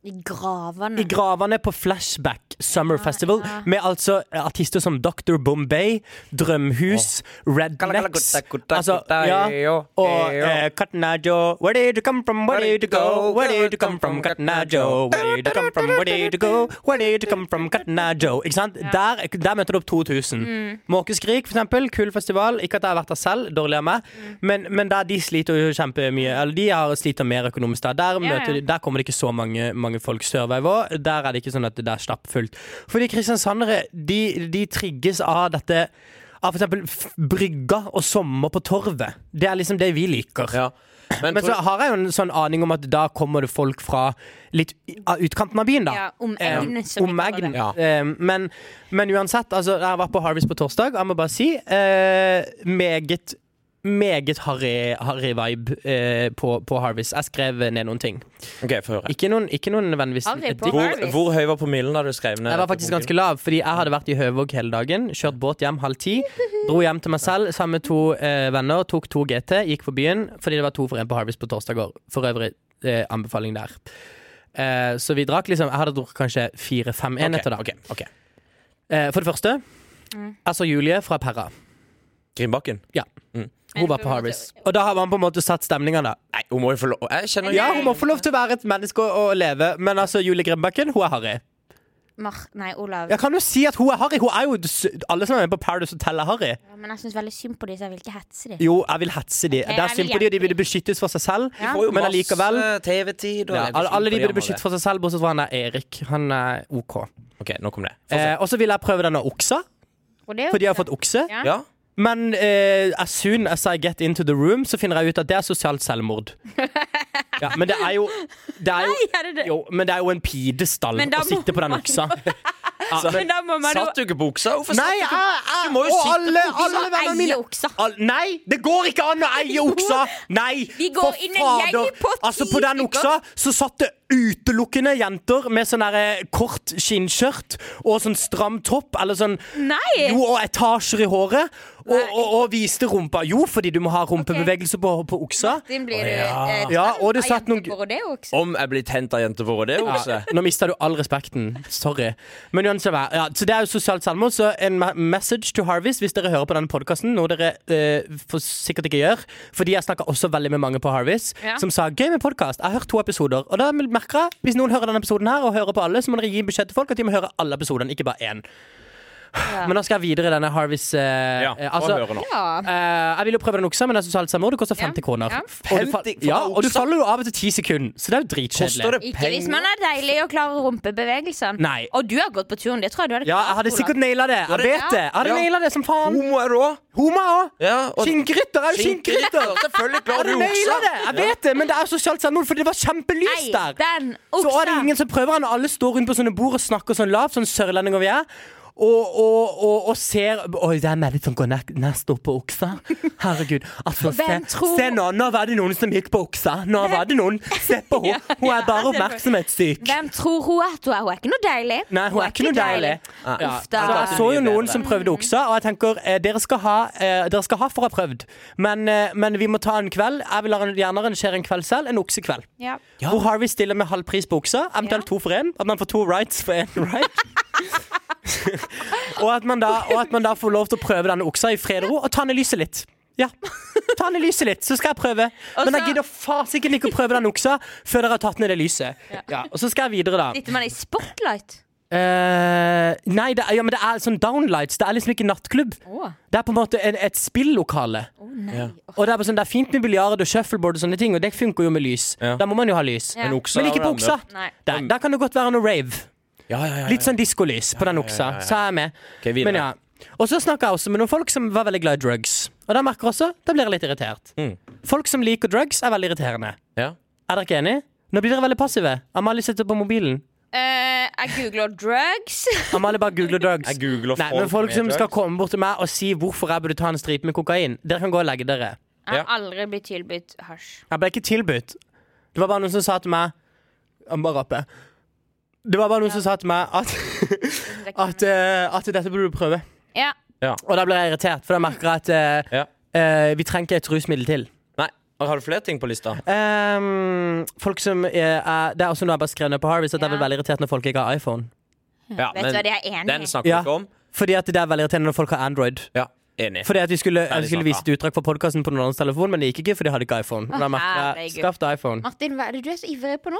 I gravene. I gravene på Flashback Summer Ah, Festival, med altså eh, artister som Dr. Bombay, Drømhus, Rednecks altså, ja, Og eh, Cotton Eye Joe. Where did you come from, where did you go? Where did you come from, Cotton Eye Joe? Where did you come from, where did you go? Where did you come from, Cotton Eye Joe? Ikke sant? Der, der møter du opp 2000. Mm. Måkeskrik, for eksempel. Kul festival. Ikke at jeg har vært der selv, dårlig av meg. Mm. Men, men der de sliter jo kjempemye. Eller de har sliter mer økonomisk der. Der, Ja, ja. møter de, der kommer det ikke så mange, mange folk sørvei vår. Der er det ikke sånn at det er stappfullt. Fordi kristiansandere, de, de trigges av dette Av for eksempel f- brygga og sommer på torvet. Det er liksom det vi liker. Ja. Men, Men så tror, har jeg jo en sånn aning om at da kommer det folk fra litt i- av utkanten av byen, da. Ja, om Eh, egnet, som vi om kaller det. egnet. Eh, men, men uansett, altså, jeg var på Harvest på torsdag, jeg må bare si eh, meget meget harry, harry vibe eh, på, på Harvest. Jeg skrev ned noen ting. ok, få høre. Ikke noen, ikke noen nødvendigvis Harry på et- Harvest? Hvor, hvor høy var promillen da du skrev ned? jeg var faktisk ganske lav, fordi jeg hadde vært i Høvåg hele dagen. Kjørt båt hjem halv ti. Dro hjem til meg selv sammen med to eh, venner. Tok to GT, gikk på byen fordi det var to for en på Harvest på torsdag i år. For øvrig eh, anbefaling der. Eh, så vi drakk liksom Jeg hadde drukket kanskje fire-fem enheter, da. Ok, ok. Eh, for det første, altså Julie fra Perra. Grimbakken? Hun var på Harvest. Og da har man på en måte satt stemninga, da. Nei, hun må jo få lov Jeg kjenner Ja, hun må få lov til å være et menneske og, og leve, men altså Julie Grimbakken, hun er harry. Mar nei, Olav. Jeg kan jo si at hun er harry. Hun er jo Alle som er med på Paradise Hotel, er harry. Ja, Men jeg syns veldig synd på de, så jeg vil ikke hetse de. Jo, jeg vil hetse de. Ok, det er jeg vil synd på de, og de hjelpe burde beskyttes for seg selv. Ja. får jo Men masse eh, allikevel TV-tid og ja, Nei, det er alle, alle de synd på burde andre. beskyttes for seg selv, bortsett fra han er Erik. Han er OK. OK, nå kom det. Få se. Eh, og så vil jeg prøve denne oksa, Og det er jo- for de har fått okse. Ja. ja? Men eh, as soon as I get into the room, så finner jeg ut at det er sosialt selvmord. Ja, men det er jo, det er jo Ja, det er det. jo, men det er jo en pidestall Men da å må sitte på den oksa. Ja, Men da må man jo Satt du ikke buksa? Hvorfor Nei, satt du ikke jeg, jeg, Du må jo og sitte alle, på alle vennene mine eie oksa. Al Nei, det går ikke an å eie oksa! Nei, Vi går inn en gjeng på ti altså, på den stykker. oksa så satt det utelukkende jenter med sånn der, eh, kort skinnskjørt og sånn stram topp, eller sånn Nei. Jo, og etasjer i håret, og, Nei. og, og viste rumpa. Jo, fordi du må ha rumpebevegelse på, på oksa. Din blir du ja. eh, Ja, tatt og det av satt noen- jenter på rodeo også. Om jeg blir tent av jenter for det, Okse? Nå mista du all respekten. Sorry. Men uansett hva. Ja, så Det er jo sosialt selvmord. Så en me- message to Harvest hvis dere hører på denne podkasten, noe dere eh, for sikkert ikke gjør. Fordi jeg snakka også veldig med mange på Harvest Ja. som sa 'gøy med podkast'. Jeg har hørt to episoder. Og da merker jeg hvis noen hører denne episoden her og hører på alle, så må dere gi beskjed til folk at de må høre alle episodene, ikke bare én. Ja. Men nå skal jeg videre i denne Harvest eh, Ja, eh, få altså, høre nå. Ja. eh, jeg vil jo prøve den oksa, men det er sosialt selvmord. Det koster Ja, 50 kroner. ja. Og, du, fa- 50 for ja, og du oksa? faller jo av etter ti sekunder, så det er jo dritkjedelig. Koster det Ikke hvis penger? man er deilig og klarer rumpebevegelsene. Nei. Og du har gått på turen. Det tror jeg du hadde Ja, jeg klart, hadde Olav. sikkert naila det. Jeg vet det. Jeg hadde Ja. naila det som faen. Homo er du òg? Homa òg. Ja, og- Skinnkrytter er jo skinnkrytter. Selvfølgelig Jeg klarer hadde du naila oksa. det. Jeg vet det, men det er sosialt selvmord fordi det var kjempelys Nei, der. den Så er det oksa. ingen som prøver han, og alle står rundt på sånne bord og snakker sånn lavt, sånn sørlendinger vi er. Og, og, og, og ser Oi, hvem er sånn det som går nest, nest opp på oksa? Herregud. Altså, se, Hvem tror- se nå. Nå var det noen som gikk på oksa. Nå var det noen. Se på henne. Hun er bare oppmerksomhetssyk. Hvem tror hun at hun er? Hun er ikke noe deilig. Nei, hun er ikke noe deilig. Ja. Uff da. Så jeg så jo Mye noen bedre. som prøvde oksa, og jeg tenker eh, dere, skal ha, eh, dere skal ha for å ha prøvd. Men, eh, men vi må ta en kveld. Jeg vil arran- gjerne arrangere en kveld selv, en oksekveld. Ja. Hvor Harvey stiller med halv pris på oksa, eventuelt to for én. At man får to rights for én right. og, at man da, og at man da får lov til å prøve denne oksa i fred og ro, og tanne lyset litt. Ja. Tanne lyset litt, så skal jeg prøve. Men jeg så- gidder fasiken ikke å prøve den oksa før dere har tatt ned det lyset. Ja. Og så skal jeg videre, da. Sitter man i spotlight? Eh, nei, det er, ja, men det er sånn downlights. Det er liksom ikke nattklubb. Å Det er på en måte en, et spillokale. Å, nei. Ja. Å, Og det er, bare sånn, det er fint med biljard og shuffleboard, og sånne ting Og det funker jo med lys. Ja. Da må man jo ha lys. Ja. Men oksa Men er ikke jo på den oksa. der. Nei. Der, der kan det godt være noe rave. Ja, ja, ja, ja. Litt sånn diskolys på den oksa. Så er jeg med. Ok, videre. Men ja. Og så snakker jeg også med noen folk som var veldig glad i drugs. Og da merker jeg også, da blir jeg litt irritert. Mm. Folk som liker drugs, er veldig irriterende. Ja. Er dere ikke enige? Nå blir dere veldig passive. Amalie sitter på mobilen. Eh, jeg googler drugs. Amalie bare googler drugs. Jeg googler Nei, men folk med som skal drugs. komme bort til meg og si hvorfor jeg burde ta en stripe med kokain, dere kan gå og legge dere. Jeg Ja. har aldri blitt tilbudt hasj. Jeg ble ikke tilbudt. Det var bare noen som sa til meg Jeg må bare rappe. Det var bare noen som sa til meg at, Det kan- at, eh, at dette burde du prøve. Ja. Og da ble jeg irritert, for da merker jeg at eh, Ja. eh, vi trenger ikke et rusmiddel til. Nei, har du flere ting på lista? Ehm, folk som eh, er, Det er også noe jeg bare skrev ned på Harvest, at jeg Ja. blir veldig irritert når folk ikke har iPhone. Ja, Vet du hva, det er jeg enig den i. snakker vi Ja. ikke om. Fordi at det er veldig irriterende når folk har Android. Ja, enig. Fordi at vi skulle, jeg Ferdig skulle snakka. vise et utdrag fra podkasten på noen annens telefon, men det gikk ikke, for de hadde ikke iPhone. Og da merker jeg, herregud. Skaff deg iPhone. Martin, hva er det du er så ivrig på nå?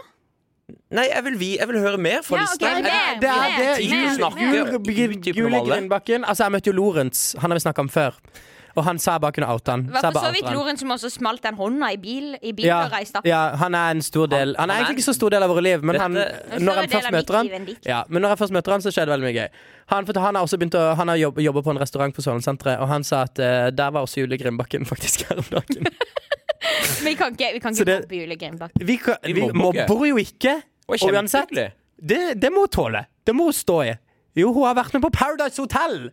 Nei, jeg vil, vi, jeg vil høre mer fra Ja, lista. ok, Jeg- mer. Det er Vi det. vet, vi Jul, vet. jul, jul, Typen jul i Amalie. Grindbakken. Altså, jeg møtte jo Lorentz. Han har vi snakka om før. Og han sa jeg bare kunne oute han. Var jeg bare for så vidt outer han. Loren som også smalt den hånda i bil I bilen Ja, og reiste. ja, han er en stor del Han er egentlig ikke så stor del av våre liv, men han, Dette- når, En større jeg del først møter av mitt liv han, enn ditt. ja, men når jeg først møter han, så skjer det veldig mye gøy. Han, for han har også begynt å Han har jobb, jobber på en restaurant på Sørlandssenteret, og han sa at eh, der var også Julie Grindbakken faktisk her om dagen. Vi kan ikke, vi kan Så ikke det- mobbe Julie Grindbakk. Vi, kan- Vi vi mobber ikke. mobber jo ikke, Det var og uansett kjempehyggelig. det, det må hun tåle. Det må hun stå i. Jo, hun har vært med på Paradise Hotel!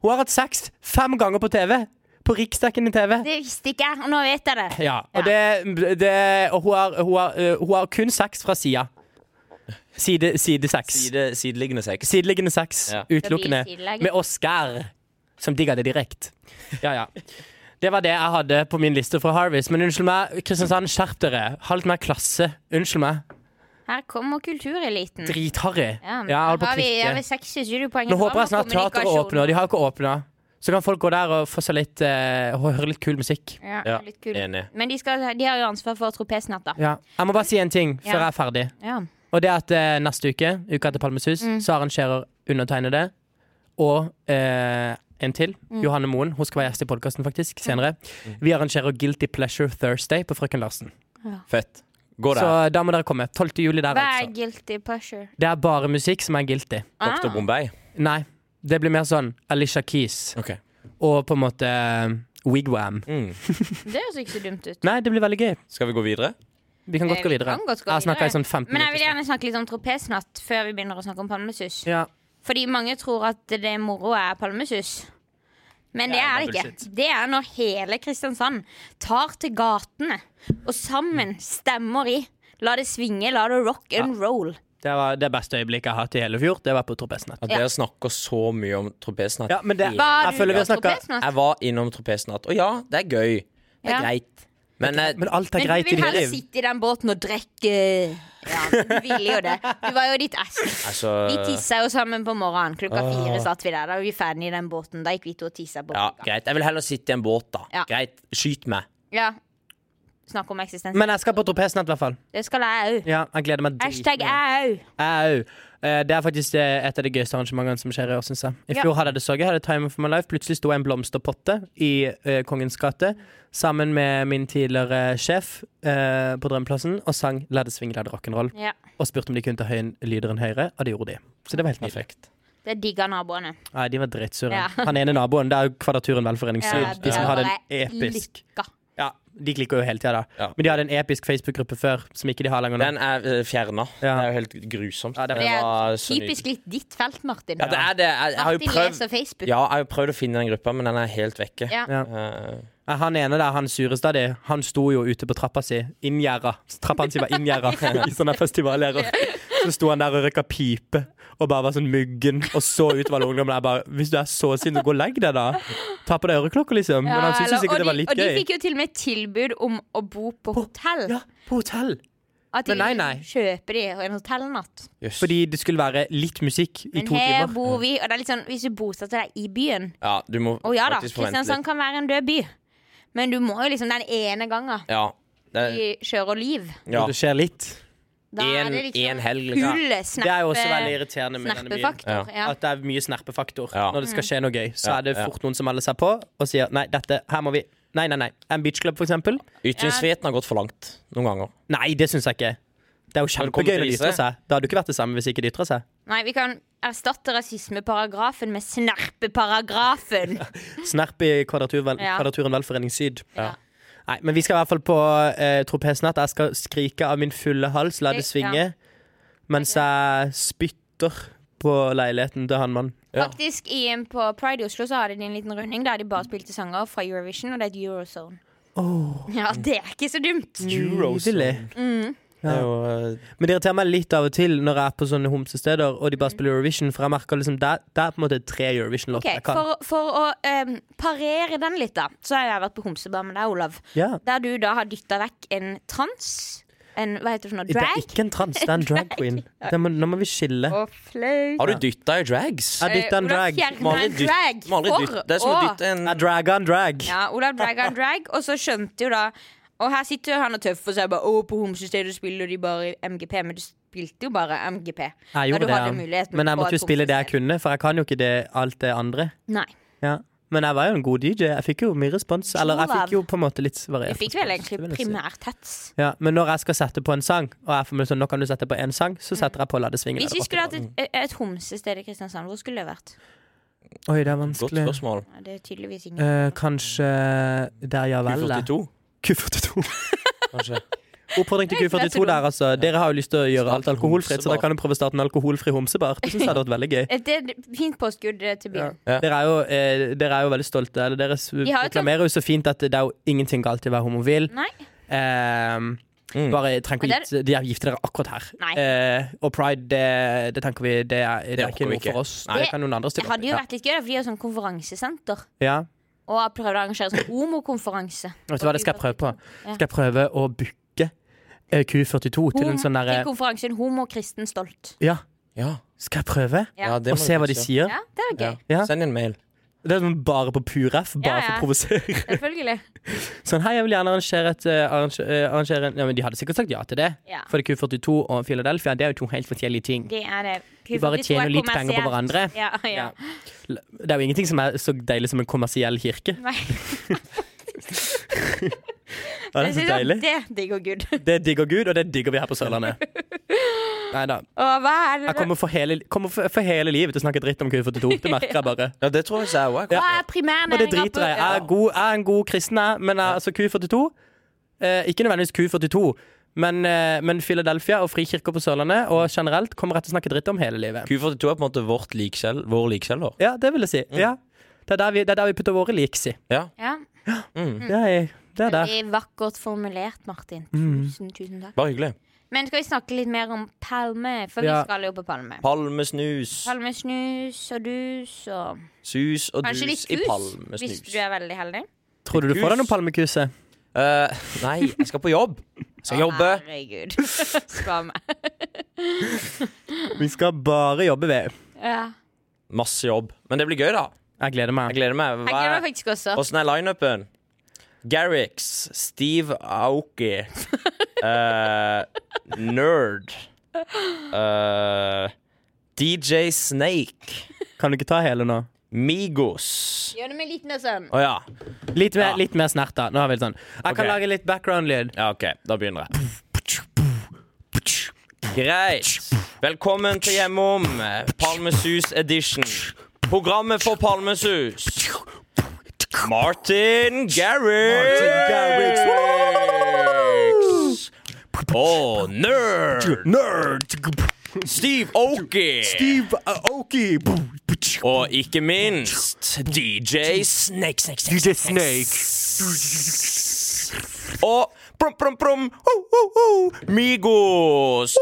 Hun har hatt sex fem ganger på TV. På riksdekkende TV. Det visste ikke jeg, og nå vet jeg det. Ja, og, det, det, og hun, har, hun, har, eh, hun har kun sex fra sida. Side, side sex. Side, sideliggende sex. Sideliggende sex. Ja. Utelukkende. Det blir sideleggende. Med Oscar, som digger det direkte. Ja, ja. Det var det jeg hadde på min liste fra Harvest. Men unnskyld meg, Kristiansand, skjerp dere. Ha litt mer klasse. Unnskyld meg. Her kommer kultureliten. Dritharry. Ja, Ja, jeg holder på å har vi, har vi klikke. 26 poeng. Nå håper jeg snart teateret åpner. De har ikke åpna. Så kan folk gå der og få seg litt eh, og høre litt kul musikk. Ja, Ja, litt kul. enig. Men de, skal, de har jo ansvar for tropesnatter. Ja. Jeg må bare si en ting før Ja. jeg er ferdig. Ja. Og det er at eh, neste uke, uka til Palmes hus, så arrangerer undertegnede og eh, en til, Johanne Moen, hun skal være gjest i podkasten faktisk, senere. Vi arrangerer Guilty Pleasure Thursday på Frøken Larsen. Fett. Gå Så eh, der. da må dere komme. 12. juli der, Hva er altså. guilty pleasure? Ah, Det er bare musikk som er guilty. Dr. Bombay. Nei, det blir mer sånn Alicia Keys Ok. og på en måte eh, Wigwam. Mm. Det høres ikke så dumt ut. Nei, det blir veldig gøy. Skal vi gå videre? Vi kan Eh, godt gå vi videre. kan godt gå Jeg har snakka i videre. sånn 15 Men jeg vil minutter. gjerne snakke litt om tropesnatt før vi begynner å snakke om palmesus. Ja. Fordi mange tror at det moro er palmesus. Men det Det er er det bare ikke. bullshit. Det er når hele Kristiansand tar til gatene og sammen stemmer i. La det svinge, la det rock and roll. Det var det beste øyeblikket jeg har hatt i hele fjor. Det var på Tropesnatt. At dere snakker så mye om tropesnatt. Ja, men det, Var jeg du føler vi på har snakket tropesnatt? Jeg var innom tropesnatt. Og ja, det er gøy. Det er Ja. greit. Men, eh, Men alt er Men du greit i vil ditt heller liv. sitte i den båten og drikke. eh, Ja, men du ville jo det. Du var jo ditt ass. altså Vi tissa jo sammen på morgenen. Klokka fire satt vi der. Da var vi ferdig i den båten. Da gikk vi to og tissa på. Ja, greit. Jeg vil heller sitte i en båt, da. Ja. Greit. Skyt meg. Ja. Snakk om eksistens. Men jeg skal på Tropesnatt, i hvert fall. Det skal jeg òg. Ja, jeg gleder meg Hashtag dritmye. jeg òg. Au. Eh, Det er faktisk eh, et av de gøyeste arrangementene som skjer i år, syns jeg. I Ja. fjor hadde jeg det så gøy. Jeg Hadde Time for my life. Plutselig sto jeg i en blomsterpotte i eh, Kongens gate sammen med min tidligere sjef eh, på Drømmeplassen og sang 'La det svinge, la det rock'n'roll'. Ja. Og spurte om de kunne ta høyen lyder enn høyre, og det gjorde de. Så det var helt nydelig. Perfekt. Det digger naboene. Nei, de var drittsure. Ja. Han ene naboen, det er jo Kvadraturen velforeningslyd. Ja, de som er hadde en bare episk Lykka. Ja, de klikker jo hele tida, da. Ja. Men de hadde en episk Facebook-gruppe før som ikke de har lenger nå. Den er fjerna. Det Ja. er jo helt grusomt. Ja, det- Det er var så nydelig. typisk litt ditt felt, Martin. Ja, det er det. Jeg, jeg har jo Martin prøvd leser Facebook. Ja, jeg har jo prøvd å finne den gruppa, men den er helt vekke. Ja. Ja. Eh, Ja, Han ene der, han sureste av de, han sto jo ute på trappa si, inngjerda. Trappa hans var inngjerda i sånne festivalgjerder. Så sto han der og røyka pipe og bare var sånn muggen og så utover alle ungdommene. Jeg bare Hvis du er så sint, så gå og legg deg, da. Ta på deg øreklokka, liksom. Men han Ja, syntes jo eller- og sikkert det var de- litt Og de gøy. fikk jo til og med tilbud om å bo på hotell. Ja, på hotell. At de Men nei, nei. kjøper de en hotellnatt. Jøss. Fordi det skulle være litt musikk i Men to her timer. bor vi, og det er litt sånn hvis du bosetter deg i byen Ja, du må Å ja da, faktisk forvente Kristiansand kan være en død by, men du må jo liksom den ene gangen litt. Ja. Det, de kjører liv. ja. Og det skjer litt. Da En, er det en liksom helg, liksom. full Det er jo også veldig snerpe, irriterende med denne byen. snerpefaktor. Ja. At det er mye snerpefaktor. Ja. Når det skal skje noe gøy, så Ja, er det ja. fort noen som melder seg på og sier nei, dette, her må vi Nei, nei, nei. En beachclub, for eksempel. Ytringsfriheten har gått for langt noen ganger. Nei, det syns jeg ikke. Det er jo det kommer kjempegøy når de til ytrer disse. seg. Det hadde jo ikke vært det samme hvis ikke de ytra seg. Nei, vi kan erstatte rasismeparagrafen med snerpeparagrafen. Snerp i Kvadratur, vel, Ja. Kvadraturen velforening syd. Ja. Nei, men vi skal i hvert fall på eh, tropesnatt. Jeg skal skrike av min fulle hals, la det Det- svinge, mens jeg spytter på leiligheten til han mannen. Ja. Faktisk i, På Pride i Oslo så hadde de en liten runding der de bare spilte sanger fra Eurovision, og det er et eurozone. Ja, det er ikke så dumt. Nydelig. Det er jo eh, Men det irriterer meg litt av og til når jeg er på sånne homsesteder og de bare spiller Eurovision, for jeg merker liksom det, det er på en måte tre Mm. Ok, Eurovision-låter jeg kan. For, for å em, parere den litt, da, så har jeg vært på homsebar med deg, Olav. Ja. Der du da har dytta vekk en trans. En hva heter det for noe? Det er Drag? ikke en trans, det er en drag queen. Det må, nå må vi skille. Å, flaut. Har du dytta i drags? Jeg dytta en drag. Må aldri Eh, en dytte- drag må aldri for dytte- Det er som å å- dytte en Jeg dragga en drag. mm. Ja, Olav draga en drag, og så skjønte jo da Og her sitter jo han og tøffer seg bare Å, på homsestedet spiller de bare MGP, men du spilte jo bare MGP. Jeg da gjorde du hadde det, ja. muligheten men jeg på måtte jo et spille det jeg homsested. kunne, for jeg kan jo ikke det, alt det andre. Nei. Ja. Men jeg var jo en god DJ. Jeg fikk jo mye respons. Eller jeg fikk jo på en måte litt Vi variert. fikk vel respons, det egentlig vil jeg si. primært hets. Ja, men når jeg skal sette på en sang, og jeg får meg sånn, nå kan du sette på én sang, så setter jeg på La det svinge. Hvis eller vi skulle hatt rock'n'roll. et, et homsested i Kristiansand, hvor skulle det vært? Oi, det er Godt vanskelig. spørsmål. Ja, det er tydeligvis ingen. Eh, kanskje Der ja vel. det. U42, Q42. kanskje. Oppfordring til Q42 der, altså. Dere har jo lyst til å gjøre alt Starte alkoholfritt, så da homsebar. kan du prøve å starte en alkoholfri homsebar. Det synes jeg hadde vært veldig gøy. Eh, Det er et fint påskudd eh, til byen. Ja. Dere er jo, eh, dere er jo veldig stolte. Eller dere s- har jo proklamerer jo så fint at det er jo ingenting galt i å være homofil. Nei. Ehm, Mm. Bare trenger ikke å gifte, de er gifte dere akkurat her. Nei. Eh, og pride, det, det tenker vi, det er, det er ikke orker vi noe ikke. for oss. Nei. Det kan noen andre Det stille opp i. hadde jo Ja. vært litt gøy, da, for de har sånn konferansesenter. Ja. Og har prøvd å arrangere sånn homokonferanse. Vet du hva, det skal jeg prøve på. Ja. Skal jeg prøve å booke eh, Q42 til en Homo- sånn derre til konferansen Homo kristen stolt. Ja, Ja. skal jeg prøve? Ja. ja, det Og må se du hva de kanskje. sier? Ja, det er gøy. Ja. Send en mail. Det er sånn bare på pur F, bare Ja, for ja. å provosere. Selvfølgelig. Sånn, hei, jeg vil gjerne arrangere et eh, arrange, eh, arrangere, en- ja, men De hadde sikkert sagt ja til det. Ja. For det er Q42 og Philadelphia det er jo to helt forskjellige ting. Det er det. De bare Q42 er tjener litt penger på kommersielt. hverandre. Ja, ja. Ja. Det er jo ingenting som er så deilig som en kommersiell kirke. Nei, Ja, det er jeg så synes at deilig. det digger Gud. Det digger Gud, og det digger vi her på Sørlandet. Nei da. Og hva er det Jeg kommer for hele, kommer for, for hele livet til å snakke dritt om Q42. Det merker jeg bare. Ja, det tror jeg jeg òg. Hva er primærnæringa Og det driter jeg i. Jeg er, god, jeg er en god kristen, jeg, men jeg, altså Q42 eh, Ikke nødvendigvis Q42, Men, eh, men Philadelphia og frikirker på Sørlandet og generelt kommer jeg til å snakke dritt om hele livet. Q42 er på en måte vårt likkjell, vår likkjeller. Ja, det vil jeg si. Ja. Det er der vi, det er der vi putter våre liks i. Ja. Ja. Mm. Det er, det er Mm. der. Veldig vakkert formulert, Martin. Tusen, tusen takk. Bare hyggelig. Men skal vi snakke litt mer om Palme? For Ja. vi skal jo på Palme. Palmesnus. Palmesnus og dus og Sus og Kanskje dus litt i kus, hvis palmesnus. du er veldig heldig. Tror du du får deg noen palmekuse? Eh, nei, jeg skal på jobb. Jeg skal jobbe. Herregud. Skam. Vi skal bare jobbe ved. Ja. Masse jobb. Men det blir gøy, da. Jeg gleder Jeg meg. gleder meg. Jeg gleder meg faktisk også. Åssen er lineupen? Garrix, Steve Aoki, eh, Nerd eh, DJ Snake, Kan du ikke ta hele nå? Migos Gjør det med litt mer sånn. Å ja. Litt mer, Ja. litt mer snert, da. Nå har vi det sånn. Jeg Ok. kan lage litt background-lyd. ja. OK, da begynner jeg. Greit. Velkommen til Hjemom, Palmesus edition. Programmet for Palmesus. Martin Garrix. Og Nerd. Steve Oki. Steve Aoki. Og ikke minst DJ Snake. Snake, Snake. DJ Snake. Og prom, prom, prom. Ho, ho, ho. Migos.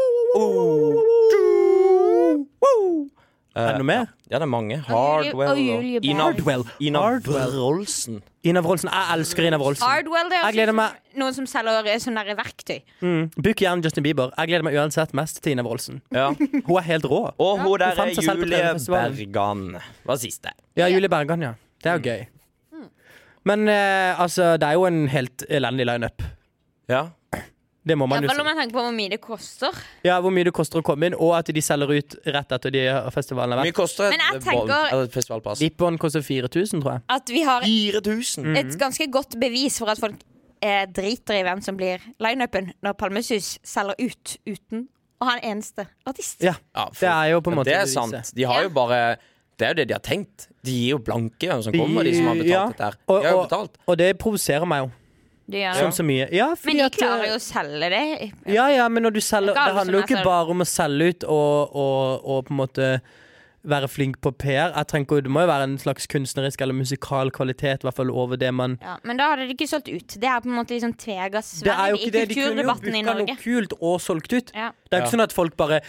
Er det noe mer? Ja, det er mange. Og Hardwell Julie Berg. Hardwell. Ina Hardwell. Wroldsen. Inav Rolsen. Jeg elsker Inav Rolsen. Hardwell, det er Jeg gleder også meg. noen som selger eh, sånne der verktøy. Book gjerne Justin Bieber. Jeg gleder meg uansett mest til Inav Rolsen. Ja. Hun er helt rå. Og hun der fant er seg selv på Julie Trøndefestivalen. Bergan. Var siste. Ja, Julie Bergan, ja. Det er jo gøy. Men eh, altså, det er jo en helt elendig lineup. Ja. Det må man jo Iallfall om si. man tenker på hvor mye det koster. Ja, Hvor mye det koster å komme inn, og at de selger ut rett etter de festivalen har Mye vært. koster Men jeg et bo- tenker- eller et festivalpass? Vippon koster 4000, tror jeg. At vi Mm. har 4000! et ganske godt bevis for at folk eh, driter i hvem som blir lineupen når Palmesus selger ut uten å ha en eneste artist. Ja, Ja, for- Det er jo på en måte Det er beviset. sant. De har jo bare Det er jo det de har tenkt. De gir jo blanke i hvem som De- kommer, de som har betalt ja. dette her. Og- De har jo og- betalt. Og det provoserer meg jo, Det gjør som det. så mye. Ja, fordi Men de at, eh, klarer jo å selge det. Ja, ja, men når du selger Det er ikke Det alle handler jo som ikke leser. bare om å selge ut og, og, og på en måte være flink på PR. Jeg trenger, ikke- det må jo være en slags kunstnerisk eller musikal kvalitet, i hvert fall over det man Ja, men da hadde de ikke solgt ut. Det er på en måte liksom tveegget Det er sverd jo i ikke det. De kunne jo kulturdebatten i booka noe Norge. kult og solgt ut. Ja. Det er jo ikke sånn at folk bare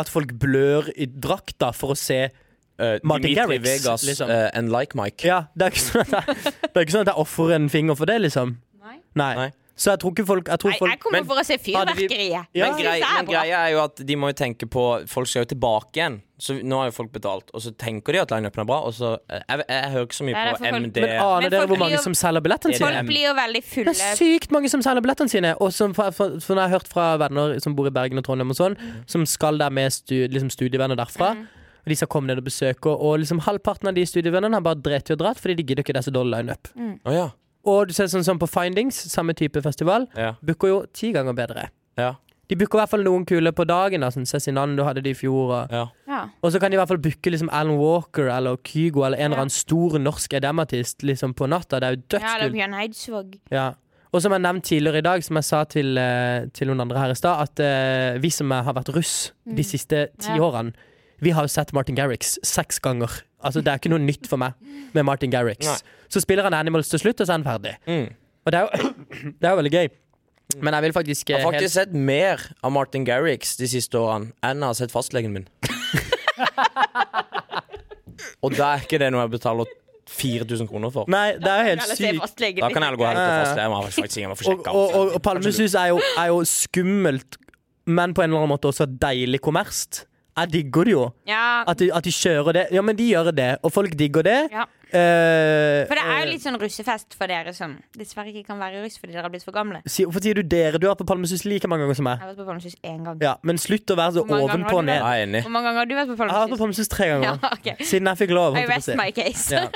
At folk blør i drakta for å se Eh, Martin Dimitri Garrix, Vegas liksom. eh, and like Mike. Ja, det er ikke sånn at jeg, det er ikke sånn at jeg ofrer en finger for det, liksom. Nei. Nei. Nei. Så jeg tror ikke folk Jeg tror Nei, folk jeg kommer Men for å se hadde vi- fyrverkeriet. Ja. Men, Jeg synes grei, det er men bra. greia er jo at de må jo tenke på Folk skal jo tilbake igjen. Så nå har jo folk betalt, og så tenker de at lineupen er bra, og så eh, Jeg, jeg hører ikke så mye Nei, det er på for folk- MD. Men ah. aner Men dere folk hvor blir mange jo- som selger billettene sine? Folk blir jo veldig fulle. Det er sykt mange som selger billettene sine. Og som, for, for, for når jeg har hørt fra venner som bor i Bergen og Trondheim, og sånn som skal der med stu, liksom studievenner derfra. Og De skal komme ned og besøke, og liksom halvparten av de studievennene har bare drept i å dra fordi de gidder ikke disse dårlige lineup. Å ja. Og du ser sånn som på Findings, samme type festival, Ja. booker jo ti ganger bedre. Ja. De booker i hvert fall noen kule på dagen. Da, sånn Cezinando hadde de i fjor. Og, ja. Ja. og så kan de i hvert fall booke liksom Alan Walker eller Kygo eller en eller annen stor norsk EDM-artist liksom på natta. Det er jo ja, eller dødskult. Bjørn Eidsvåg. Ja. Og som jeg nevnte tidligere i dag, som jeg sa til, eh, til noen andre her i stad, at eh, vi som har vært russ de siste ti Ja. årene, vi har jo sett Martin Garrix seks ganger. Altså, det er ikke noe nytt for meg med Martin Garrix. Nei. Så spiller han Animals til slutt, og så er han ferdig. Mm. Og det er jo, det er jo veldig gøy. Men jeg vil faktisk, eh, Jeg har faktisk sett mer av Martin Garrix de siste årene enn jeg har sett fastlegen min. Og da er ikke det noe jeg betaler 4000 kroner for. helt Nei, det er jo helt Eller se sykt. fastlegen Da kan din. jeg heller gå og hente Ja, ja, ja. fastlegen. Jeg må faktisk- jeg må få Og, sjekka og, og, om- og Palmesus er jo, er jo skummelt, men på en eller annen måte også deilig kommerst. Jeg digger det jo. Ja, At de, at de kjører det. Ja, men de gjør det, og folk digger det. Ja. Eh, for det er eh, jo litt sånn russefest for dere som dessverre ikke kan være russ fordi dere har blitt for gamle. eh, si, Hvorfor sier du dere? Du har vært på Palmesus like mange ganger som Jeg meg. har vært på Palmesus én gang. Ja, men slutt å være så Hvor mange ganger ovenpå har og du ned. vært? Jeg er enig. Hvor mange ganger har du vært på Jeg har vært på Palmesus? Palmesus tre ganger. Ja, ok. Siden jeg fikk lov. I holdt jeg på å rest si. my case. Ja.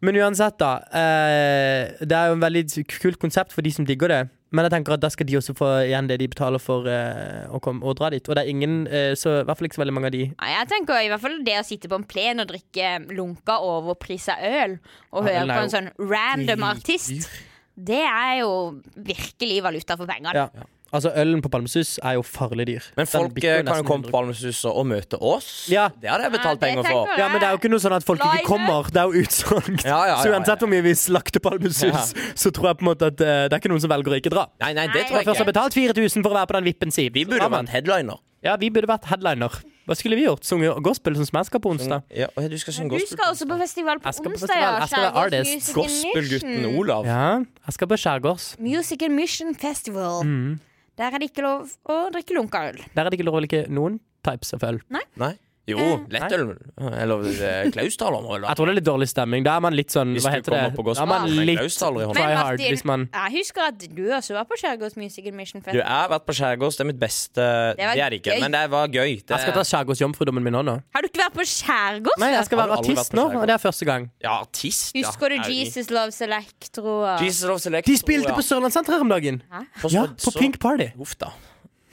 Men uansett, da. eh, det er jo en veldig kult konsept for de som digger det. Men jeg tenker at da skal de også få igjen det de betaler for eh, å, komme, å dra dit. Og det er ingen, eh, så i hvert fall ikke så veldig mange av de. Nei, jeg tenker i hvert fall det å sitte på en plen og drikke lunka overprisa øl og Ja, høre den er på en jo sånn random artist, det er jo virkelig valuta for pengene. Ja. Altså, ølen på Palmesus er jo farlig dyr. Den Men folk bikker eh, kan nesten jo komme 100. på Palmesuset og møte oss. Ja. Det hadde jeg betalt Ja, det penger tenker for. jeg. Ja, men det er jo ikke noe sånn at folk Live. ikke kommer. Det er jo utsolgt. Ja, ja, ja, Så ja. uansett hvor mye vi slakter Palmesus, så tror jeg på en måte at eh, det er ikke noen som velger å ikke dra. Nei, nei, det Nei, tror Først har jeg ikke. betalt 4000 for å være på den vippen si. Vi burde vært headliner. Ja, vi burde vært headliner. Hva skulle vi gjort? Sunget gospel som smesker på onsdag? Ja, og du skal synge Du skal også på festival på Jeg skal på onsdag, festival. ja. Jeg skal være Skjærgårds artist. Music and Gospelgutten Mission. Olav. Ja, jeg skal på skjærgårds. Music and Mission Festival. Mm. Der er det ikke lov å drikke lunkaøl. Der er det ikke lov å like noen types av øl. Nei? Jo, lettøl. Eller eh, Klausdal om Jeg tror det er litt dårlig stemning. Da er man litt sånn Hvis Hva du heter det? kommer på Da er man gospel med litt Klausdal i hånda. try hard hvis man jeg husker at du også var på Skjærgårds Music and Mission Du, Festival. jeg har vært på skjærgårds. Det er mitt beste Det, var er det ikke, gøy. men det var gøy. Det, Jeg skal ta skjærgårdsjomfrudommen min nå, nå. Har du ikke vært på Skjærgårds? Nei, jeg skal Har du være aldri vært artist på nå, skjærgård? og det er første gang. ja, artist, ja. Husker du Er det- Jesus Loves Electro? og- Jesus Love Select. De spilte ja. på Sørlandssenteret her om dagen. På- Ja, så- på Pink Party. Uff, da.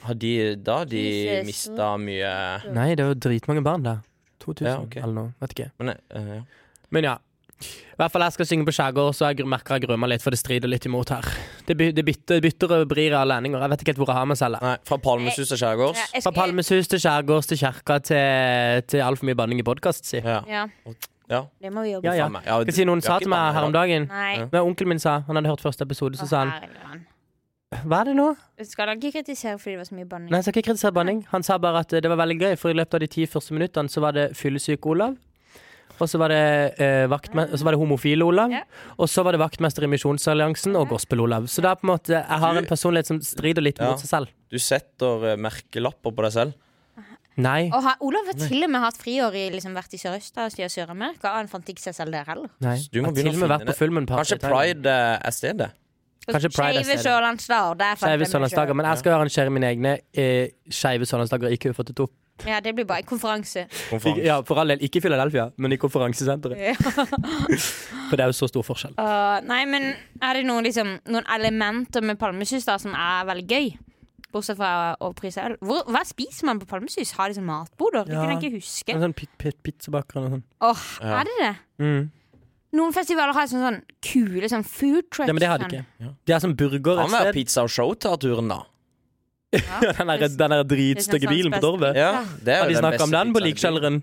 Har de, da har de Jesus. mista mye Nei, det var dritmange barn der. 2000 Ja, ok. eller noe. Vet ikke. Men eh, ja. Men ja. I hvert fall jeg skal synge på skjærgård, så jeg gr- merker jeg gruer meg litt, for det strider litt imot her. Det, by, det bytter, bytter og vrir av lendinger. Jeg vet ikke helt hvor jeg har meg selv. jeg. Nei, fra Palmesus til skjærgårds. Ja, jeg Fra skulle- Palmesus til skjærgårds til kjerka til, til altfor mye banning i podkast, si. Ja. Ja, Ja. det må vi jobbe Ja, ja. Faen meg. Ja, Skal jeg si noen vi sa har til ikke meg banning her i om dag. dagen Nei. Når onkelen min sa, han hadde hørt første episode, så Å, sa han herregud. Hva er det nå? Skal han ikke kritisere fordi det var så mye banning? Nei, jeg skal ikke kritisere banning. Han sa bare at eh, det var veldig gøy, for i løpet av de ti første minuttene så var det fyllesyk Olav. Og så var det, eh, vaktme- og så var det homofile Olav. Ja. Og så var det vaktmester i Misjonsalliansen og gospel-Olav. Så det er på en måte, jeg har en personlighet som strider litt Ja. mot seg selv. Du setter eh, merkelapper på deg selv. Nei. Og ha, Olav har til og med hatt friår i liksom, vært i Sørøst-Asia og Sør-Amerika. Han fant ikke seg selv der heller. Nei. Du jeg må har til begynne og å med finne vært på det. Fullmoon Party. Kanskje Pride eh, er stedet? Kanskje Pride er Skeive stedet. Sørlandsdager. Der fant Skeive jeg meg sørlandsdager. selv. Men jeg skal arrangere mine egne eh, skeive sørlandsdager i Q42. Ja, det blir bare en konferanse. Konferanse. Ja, for all del. Ikke i Philadelphia, men i konferansesenteret. Ja. For det er jo så stor forskjell. Uh, nei, men er det noen, liksom, noen elementer med palmesus da som er veldig gøy? Bortsett fra å prise øl. Hvor, hva spiser man på palmesus? Har de sånn matboder? Det Ja. kan jeg ikke huske. En sånn pit, pit, pizzabaker og sånn. Åh, Ja. Er det det? Mm. Noen festivaler har sånn, sånn kule sånn food trucks. Ja, men det har de sånn. ikke. De har sånn burger Kan et være sted. pizza og show til turen, da. Ja, den der, den der dritstygge Kristiansands bilen på beste. Torvet. Ja, det er Har jo de den snakka om beste den på pizzaen i likkjelleren? byen.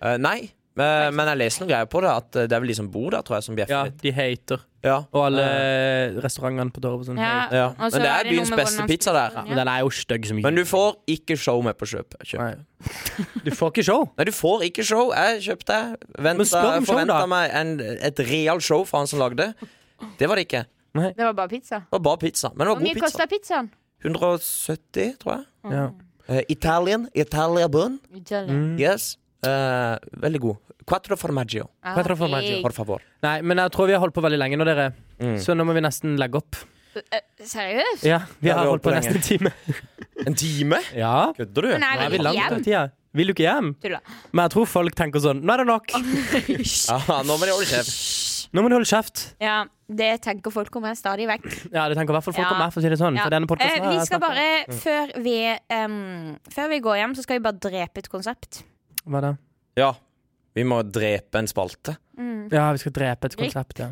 Eh, nei, eh, men jeg leser noen greier på det. At eh, det er vel de som bor der, tror jeg, som bjeffer Ja, litt. de hater. Ja. Og alle restaurantene på Torvet. Sånn, Ja, hater. Ja. og så Men det er noe byens med beste hvordan- pizza der. Men den er jo stygg som Men du får ikke show med på kjøp. kjøp. Nei. Du får ikke show. Nei, du får ikke show. Jeg kjøpte. Men Venta, spør om show, forventa da. meg en, et real show fra han som lagde. Det var det ikke. Det Det var bare pizza. var bare pizza. Men det Hvor var mye god kosta pizza. pizzaen? 170, tror jeg. Ja. Eh, Italian. Italia bun. Mm. Yes. Eh, veldig god. Quattro formaggio, Hva tror du for meg, Gio? por favor. Nei, men jeg tror vi har holdt på veldig lenge nå, dere. Så nå må vi nesten legge opp. Eh, Seriøst? Ja, vi Mm. Ja, har holdt på lenge. nesten en time. En time? Ja, Kødder du? Men jeg nå er vi vil langt hjem. av tida. Vil du ikke hjem? Tulla. Men jeg tror folk tenker sånn Nå er det nok! Ja, nå må de holde kjeft. Nå må du holde kjeft. Ja, det tenker folk om meg stadig vekk. Ja, det tenker i hvert fall folk Ja. om meg, for å si det sånn. Ja. Mm, For denne podcasten Eh, her vi er skal snakk om- Mm. bare, før vi, em, før vi går hjem, så skal vi bare drepe et konsept. Hva da? Ja. Vi må drepe en spalte. Ja, vi skal drepe et konsept, ja.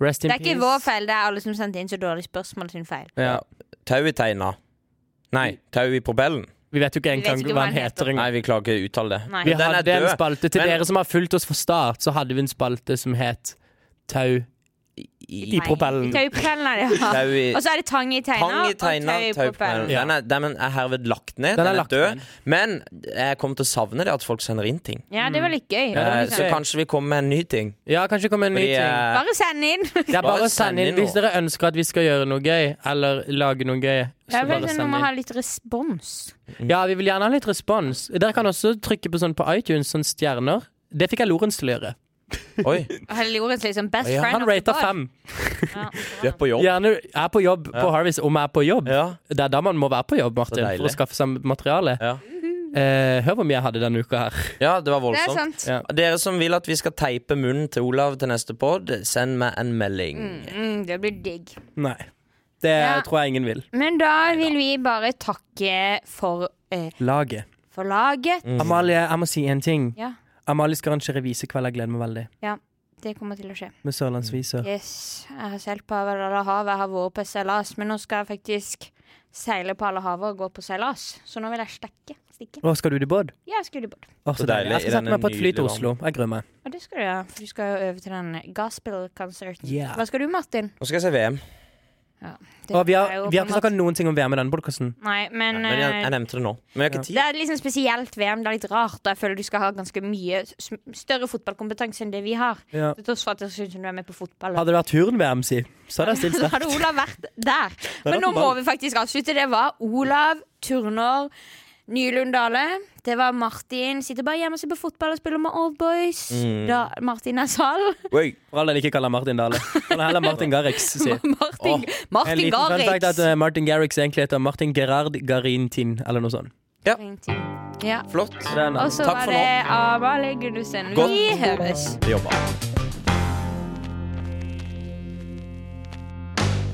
Rest in Det er peace. ikke vår feil, det er alle som sendte inn så dårlige spørsmål sin feil. Ja. Tau i teina. Nei, tau i propellen. Vi vet jo ikke vet engang ikke hva han heter engang. Nei, vi klarer ikke å uttale det. Nei. Vi Men den er hadde en død. spalte til Men- dere som har fulgt oss fra start, så hadde vi en spalte som het Tau i Nei. propellen. Tau i propellen er det, ja. Tau i Og så er det tang i teina Tang i og teina, tau i tau i propellen. propellen. Ja. Den er, den er herved lagt ned. Den Den er er, lagt ned. død. Men jeg kommer til å savne det at folk sender inn ting. Ja, det var litt gøy. Mm. Ja, det var Eh, litt så gøy. kanskje vi kommer med en ny ting. Ja, kanskje det kommer en ny Fordi, ting. eh, Bare send inn! Det er bare å bare sende send inn inn hvis dere ønsker at vi skal gjøre noe gøy, eller lage noe gøy. Så Jeg vil bare Vi send må ha inn. litt respons. Ja, vi vil gjerne ha litt respons. Dere kan også trykke på sånn på iTunes, sånn stjerner. Det fikk jeg Lorentz til å gjøre. Oi, Helle Lorentz liksom best Ja, friend Han rata fem. du er på jobb. Gjerne er på jobb på Harvis om jeg er på jobb. Ja. Det er da man må være på jobb, Martin, deilig. for å skaffe seg materiale. Ja. Eh, hør hvor mye jeg hadde denne uka her. ja, det var Det er voldsomt. sant. Ja. Dere som vil at vi skal teipe munnen til Olav til neste pod, send meg en melding. Mm, det blir digg. Nei. Det Ja. tror jeg ingen vil. Men da vil vi bare takke for, eh, Laget. for laget. Amalie, jeg må si en ting. Ja, Amalie skal arrangere visekveld. Jeg gleder meg veldig. ja, det kommer til å skje. Med sørlandsviser. Yes, jeg har seilt på Valhalla havet, jeg har vært på seilas, men nå skal jeg faktisk seiler på alle havet og går på seilas. Så nå vil jeg stekke. stikke. Å, skal du ut i båt? Ja, jeg skulle i båt. Å, så Så deilig. deilig. Jeg skal I sette denne meg på et fly til nydelige Oslo. Jeg gruer meg. Og det skal du gjøre. for Du skal jo øve til den gospel-konserten. Yeah. Hva skal du, Martin? Nå skal jeg se VM. Det Og vi har, er jo vi har på en ikke snakka noen ting om VM i denne podkasten. måte- Nei, men, Men jeg, jeg eh, nevnte det nå. Men jeg har ikke det tid. er liksom spesielt VM. Det er litt rart. og Jeg føler du skal ha ganske mye s- større fotballkompetanse enn det vi har. Ja. Til tross for at jeg syns du er med på fotball. Hadde det vært turn-VM, si, så hadde jeg stilt Så sterkt. hadde Olav vært der. Men nå på må ball. vi faktisk avslutte. Det var Olav, Turner, Nylund Dale. Det var Martin. Sitter bare hjemme og ser på fotball og spiller med Old Boys. Mm. Da Martin er sal. Oi, For all del ikke kaller Martin Dale. Han er heller Martin Garrix, si. Martin, En Martin liten fun fact er at Garrix. eh, Martin Garrix egentlig heter Martin Gerard Garintin, eller noe sånn. Ja. flott. Det er en- Og så Takk var for det Amalie Gunnussen. Vi høres. Jobba.